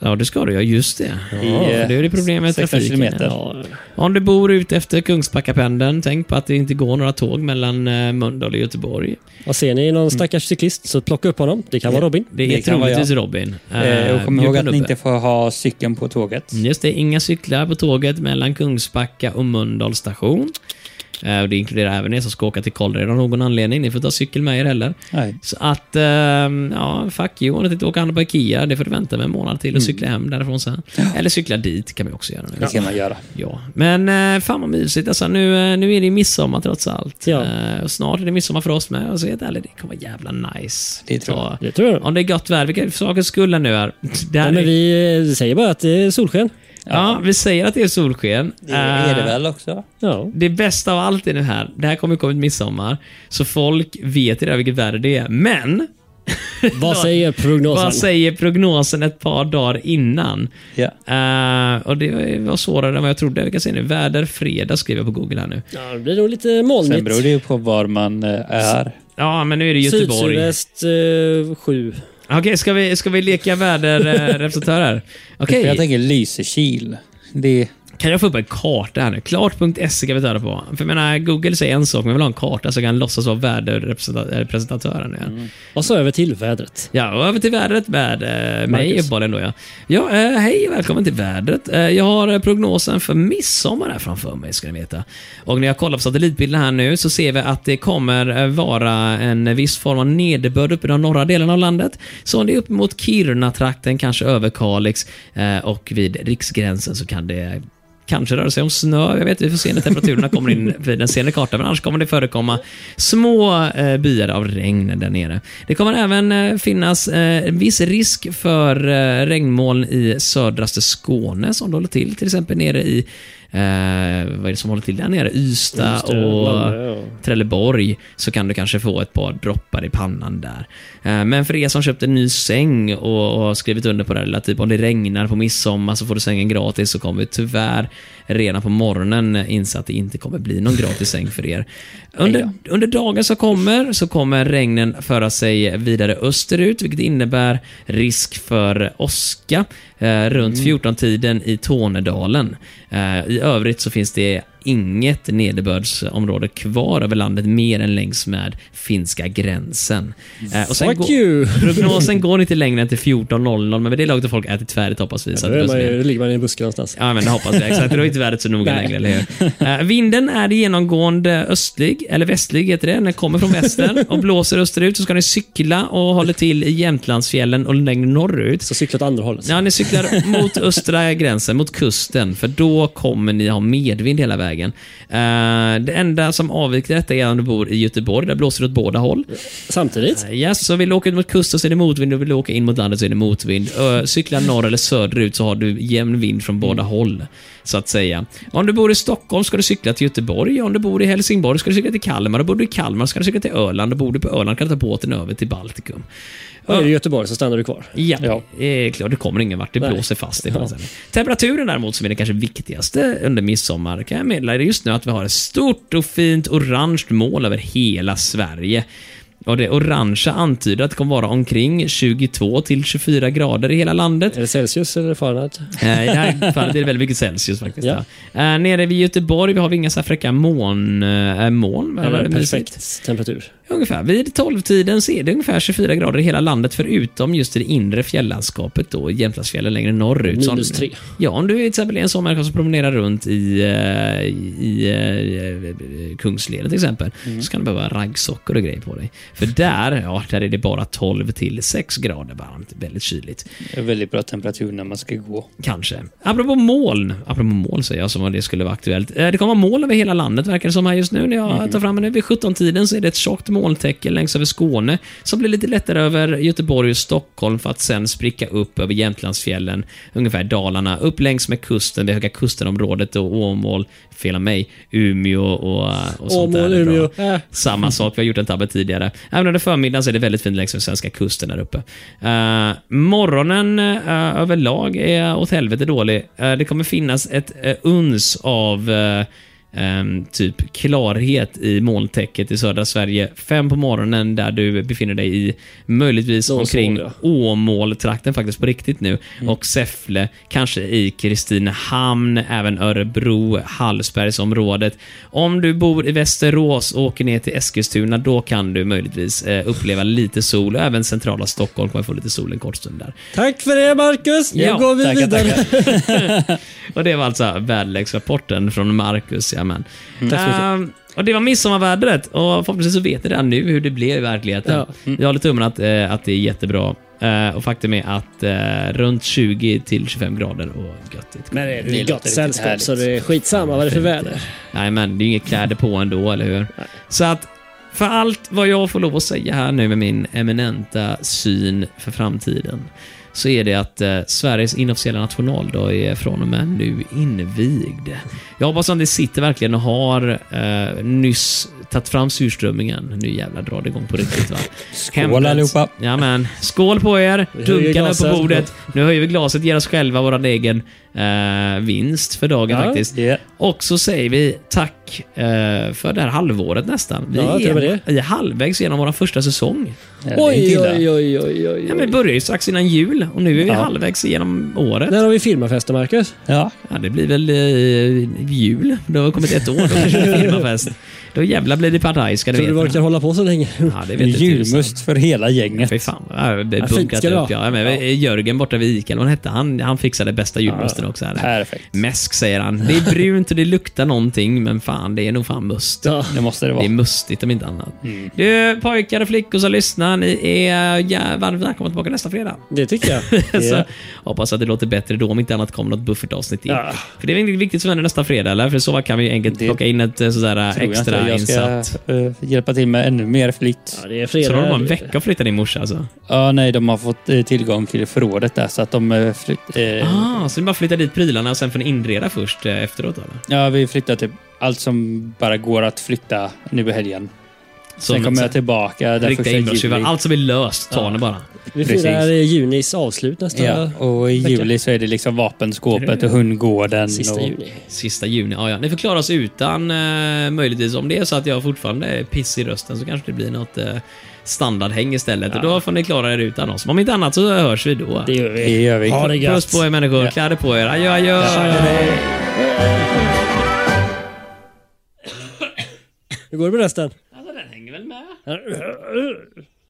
Ja, det ska du. Ja, just det. Ja, eh, det är det problemet med 16 trafiken. kilometer. ja. Om du bor ute efter Kungsbackapendeln, tänk på att det inte går några tåg mellan eh, Mölndal och Göteborg. Och ser ni någon stackars cyklist så plocka upp honom. Det kan vara Robin. Mm. Det är Det kan vara troligtvis Robin. Eh, och kom bjud ihåg på Äh, att ni nubbe. Mm. inte får ha cykeln på tåget. Just det, inga cyklar på tåget mellan Kungsbacka och Mölndal station. Eh, och Det inkluderar även er som ska åka till Kållered av någon anledning. Ni får ta cykel med er heller. Nej. Så att, ehm, ja, fuck you. Om ni inte åker och handlar på Ikea, det får du vänta med en månad till och cykla hem därifrån sen. Eller cykla dit kan vi också göra nu. Det kan man göra. Ja, Äh, men eh, fan vad mysigt. Alltså, nu, eh, nu är det ju midsommar trots allt. Ja. Eh, och snart är det midsommar för oss med. Och så är det, ärligt, det kommer vara jävla nice. Det tror jag. Så, Det tror jag. Om det är gott väder, vilka saker skulle nu är. Det här Nej, är- men vi eh, säger bara att det är solsken. ja, vi säger att det är solsken. Det är det Eh, väl också? Ja. det bästa av allt är det här, det här kommer ju komma ut midsommar, så folk vet redan vilket väder det är. Men, Vad säger prognosen? vad säger prognosen ett par dagar innan? Ja. Eh, och det var svårare än vad jag trodde. Vi kan se nu, väder fredag skriver jag på Google här nu. Ja, det blir nog lite Sen beror det molnigt. ju på var man eh, är. Ja, men nu är det Göteborg. Sydsydväst eh, sju. Okej, ska, vi, ska vi leka väderrepresentörer? Okej, För jag tänker Lysekil. Det, kan jag få upp en karta här nu? Klart.se kan vi ta det på. För jag menar, Google säger en sak, men jag vill ha en karta så jag kan låtsas vara väderrepresentatören igen. Och så över till vädret. Ja, och över till vädret med eh, mig Marcus. uppenbarligen då ja. Ja, eh, hej och välkommen till vädret. Eh, jag har eh, prognosen för midsommar här framför mig ska ni veta. Och när jag kollar på satellitbilden här nu så ser vi att det kommer eh, vara en viss form av nederbörd uppe i de norra delarna av landet. Så det är upp mot Kiruna-trakten, kanske över Kalix eh, och vid riksgränsen så kan det Kanske rör det sig om snö, jag vet vi får se när temperaturerna kommer in vid den senare kartan, men annars kommer det förekomma små eh, byar av regn där nere. Det kommer även eh, finnas eh, en viss risk för eh, regnmoln i södraste Skåne som det håller till, till exempel nere i eh, vad är det som håller till där nere? Ystad Just det, och Malmö, ja. Trelleborg så kan du kanske få ett par droppar i pannan där. Eh, Men för er som köpt en ny säng och och har skrivit under på det här lilla, typ om det regnar på midsommar så får du sängen gratis så kommer vi tyvärr redan på morgonen inse att det inte kommer bli någon gratis säng för er. Under, under dagen som kommer så kommer regnen föra sig vidare österut vilket innebär risk för åska eh, runt Mm. 14-tiden i Tornedalen. Eh, I övrigt så finns det inget nederbördsområde kvar över landet mer än längs med finska gränsen. Eh, och sen Fuck går- you! Prognosen går inte längre än till 14.00, men vid det laget har folk ätit färdigt hoppas vi. så att Då det är behövs man mer. ju, ligger man i en buske någonstans. Ja, men det hoppas vi. Exakt. Då är inte vädret så noga Nej. längre, eller hur? Eh, vinden är genomgående östlig, eller västlig heter det. Den kommer från väster och blåser österut. Så ska ni cykla och håller till i Jämtlandsfjällen och längre norrut. Så cykla åt andra hållet. Ja, ni cyklar mot östra gränsen, mot kusten, för då kommer ni ha medvind hela vägen. Eh, det enda som avviker detta är om du bor i Göteborg, där blåser det åt båda håll. Samtidigt. Yes, så vill du åka ut mot kusten så är det motvind och vill du åka in mot landet så är det motvind. Ö, Cykla norr eller söderut så har du jämn vind från båda håll. Så att säga. Om du bor i Stockholm ska du cykla till Göteborg. Om du bor i Helsingborg ska du cykla till Kalmar. Och bor du i Kalmar ska du cykla till Öland. Och bor du på Öland kan du ta båten över till Baltikum. Och är du i Göteborg så stannar du kvar. Ja, Ja. Eh, klart, det kommer ingen vart. Det Typ. Nej. blåser fast. i ja. Temperaturen däremot, som är det kanske viktigaste under midsommar, kan jag meddela er just nu att vi har ett stort och fint orange moln över hela Sverige. Och det orangea antyder att det kommer vara omkring 22 till 24 grader i hela landet. Är det Celsius eller Fahrenheit? Eh, I det här fallet är det väldigt mycket Celsius faktiskt. Ja. Ja. Eh, Nere vid Göteborg vi har vi inga så här fräcka moln. Äh, moln vad Eller var det? Mysigt. Eh, perfekt temperatur. Ungefär. Vid 12-tiden så är det ungefär 24 grader i hela landet förutom just i det inre fjälllandskapet då, Jämtlandsfjällen längre norrut. Så om- Minus tre. Ja, om du är till exempel en sån människa som promenerar runt i, eh, i eh, Kungsleden till exempel, Mm. så kan du behöva raggsockor och grejer på dig. För där, ja, där är det bara 12 till 6 grader varmt, väldigt kyligt. Det är väldigt bra temperatur när man ska gå. Kanske. Apropå moln. Apropå moln säger jag som om det skulle vara aktuellt. Eh, Det kommer vara moln över hela landet verkar det som här just nu när jag Mhm. tar fram det. nu. Vid 17-tiden så är det ett tjockt molntäcke längs över Skåne som blir lite lättare över Göteborg och Stockholm för att sen spricka upp över Jämtlandsfjällen, ungefär Dalarna, upp längs med kusten, vid Höga Kusten-området och Åmål, fel av mig, Umeå och, och sånt där. Åmål, är bra. Umeå. Äh. Samma sak, vi har gjort en tabbe tidigare. Även under förmiddagen så är det väldigt fint längs den svenska kusten där uppe. Eh, morgonen eh, överlag är åt helvete dålig. Eh, det kommer finnas ett eh, uns av eh, ehm, typ klarhet i molntäcket i södra Sverige. Fem på morgonen där du befinner dig i möjligtvis Någon omkring såg det. Åmål-trakten faktiskt på riktigt nu. Och Säffle, kanske i Kristinehamn, även Örebro, Hallsbergsområdet. Om du bor i Västerås och åker ner till Eskilstuna, då kan du möjligtvis eh, uppleva lite sol. Och även centrala Stockholm kommer få lite sol en kort stund där. Tack för det Marcus! Nu Ja, går vi tackar, vidare. Och det var alltså väderleksrapporten från Marcus. Jajamän. Mm. Ehm, och det var midsommarvädret och förhoppningsvis så vet ni redan nu hur det blev i verkligheten. Ja. Mm. Jag håller tummen att, eh, att det är jättebra. Eh, och faktum är att eh, runt 20 till 25 grader och göttigt. Men det är Det ju låter gott riktigt sällskap härligt. så det är skitsamma vad det är för väder. Nej, men det är ju inget kläder på ändå, eller hur? Så att för allt vad jag får lov att säga här nu med min eminenta syn för framtiden så är det att eh, Sveriges inofficiella nationaldag är från och med nu invigd. Jag hoppas att ni sitter verkligen och har eh, nyss tagit fram surströmmingen. Nu jävlar drar det igång på riktigt va. Skål allihopa! Jajamän. Skål på er! höjer Dunkarna upp på glaset. bordet. Nu höjer vi glaset, ger oss själva vår egen eh, vinst för dagen Ja. faktiskt. Yeah. Och så säger vi tack eh, för det här halvåret nästan. Vi Ja, till och med är, är halvvägs genom vår första säsong. Oj, oj, oj, oj, oj. Ja, men vi började ju strax innan jul och nu är vi Ja. halvvägs genom året. När har vi firmafester Marcus? Ja, Ja, det blir väl eh, jul. Det har kommit ett år. Då kanske det blir firmafest. Då jävlar blir det partaj ska du Tror du vi veta. orkar hålla på så länge? Ja, det vet du tusan. julmust för hela gänget. Fy fan. Ja, det Ja, fint bunkrat ska det upp. vara. Ja, Ja, men, eh, Jörgen borta vid Ica, eller vad han hette, han, han fixade bästa julmusten också. Här. Perfekt. Mäsk säger han. Det är brunt och det luktar någonting, men fan, det är nog fan must. Ja. Det måste det Det är vara. mustigt om inte annat. Mm. Du, pojkar och flickor som lyssnar, ni är ja, varmt välkomna tillbaka nästa fredag. Det tycker jag. Så, hoppas att det låter bättre då, om inte annat kommer något buffertavsnitt till. Ja. För det är väldigt viktigt som händer nästa fredag, eller? För så kan vi ju enkelt Det plocka in ett eh, sådär Tror jag inte. extra Jag ska insatt. eh, hjälpa till med ännu mer flytt. Ja, det är Så fredag. då har de bara en vecka att flytta din morsa alltså? Ja, nej, de har fått eh, tillgång till förrådet där så att de eh, flytt, eh, Ah, så det är bara att flytta dit prylarna och sen får ni inreda först eh, efteråt eller? Ja, vi flyttar typ allt som bara går att flytta nu i helgen. Som Sen kommer jag tillbaka den första Riktiga inbrottstjuvar. juli. Allt som är löst tar Ja. ni bara. Vi firar Precis. eh, junis avslut nästa Ja, och i juli så är det liksom vapenskåpet och hundgården. sista och, juni. Sista juni. Ja, ja. Ni får klara oss utan eh, möjligtvis. Om det är så att jag fortfarande är piss i rösten så kanske det blir något eh, standardhäng istället. Och då får ni klara er utan oss. Men om inte annat så hörs vi då. Det gör vi. Det gör vi. Ha det gött. Puss på er människor. Ja. Kläder på er. Adjö, adjö. Hur går det med resten? Alltså, den hänger väl med?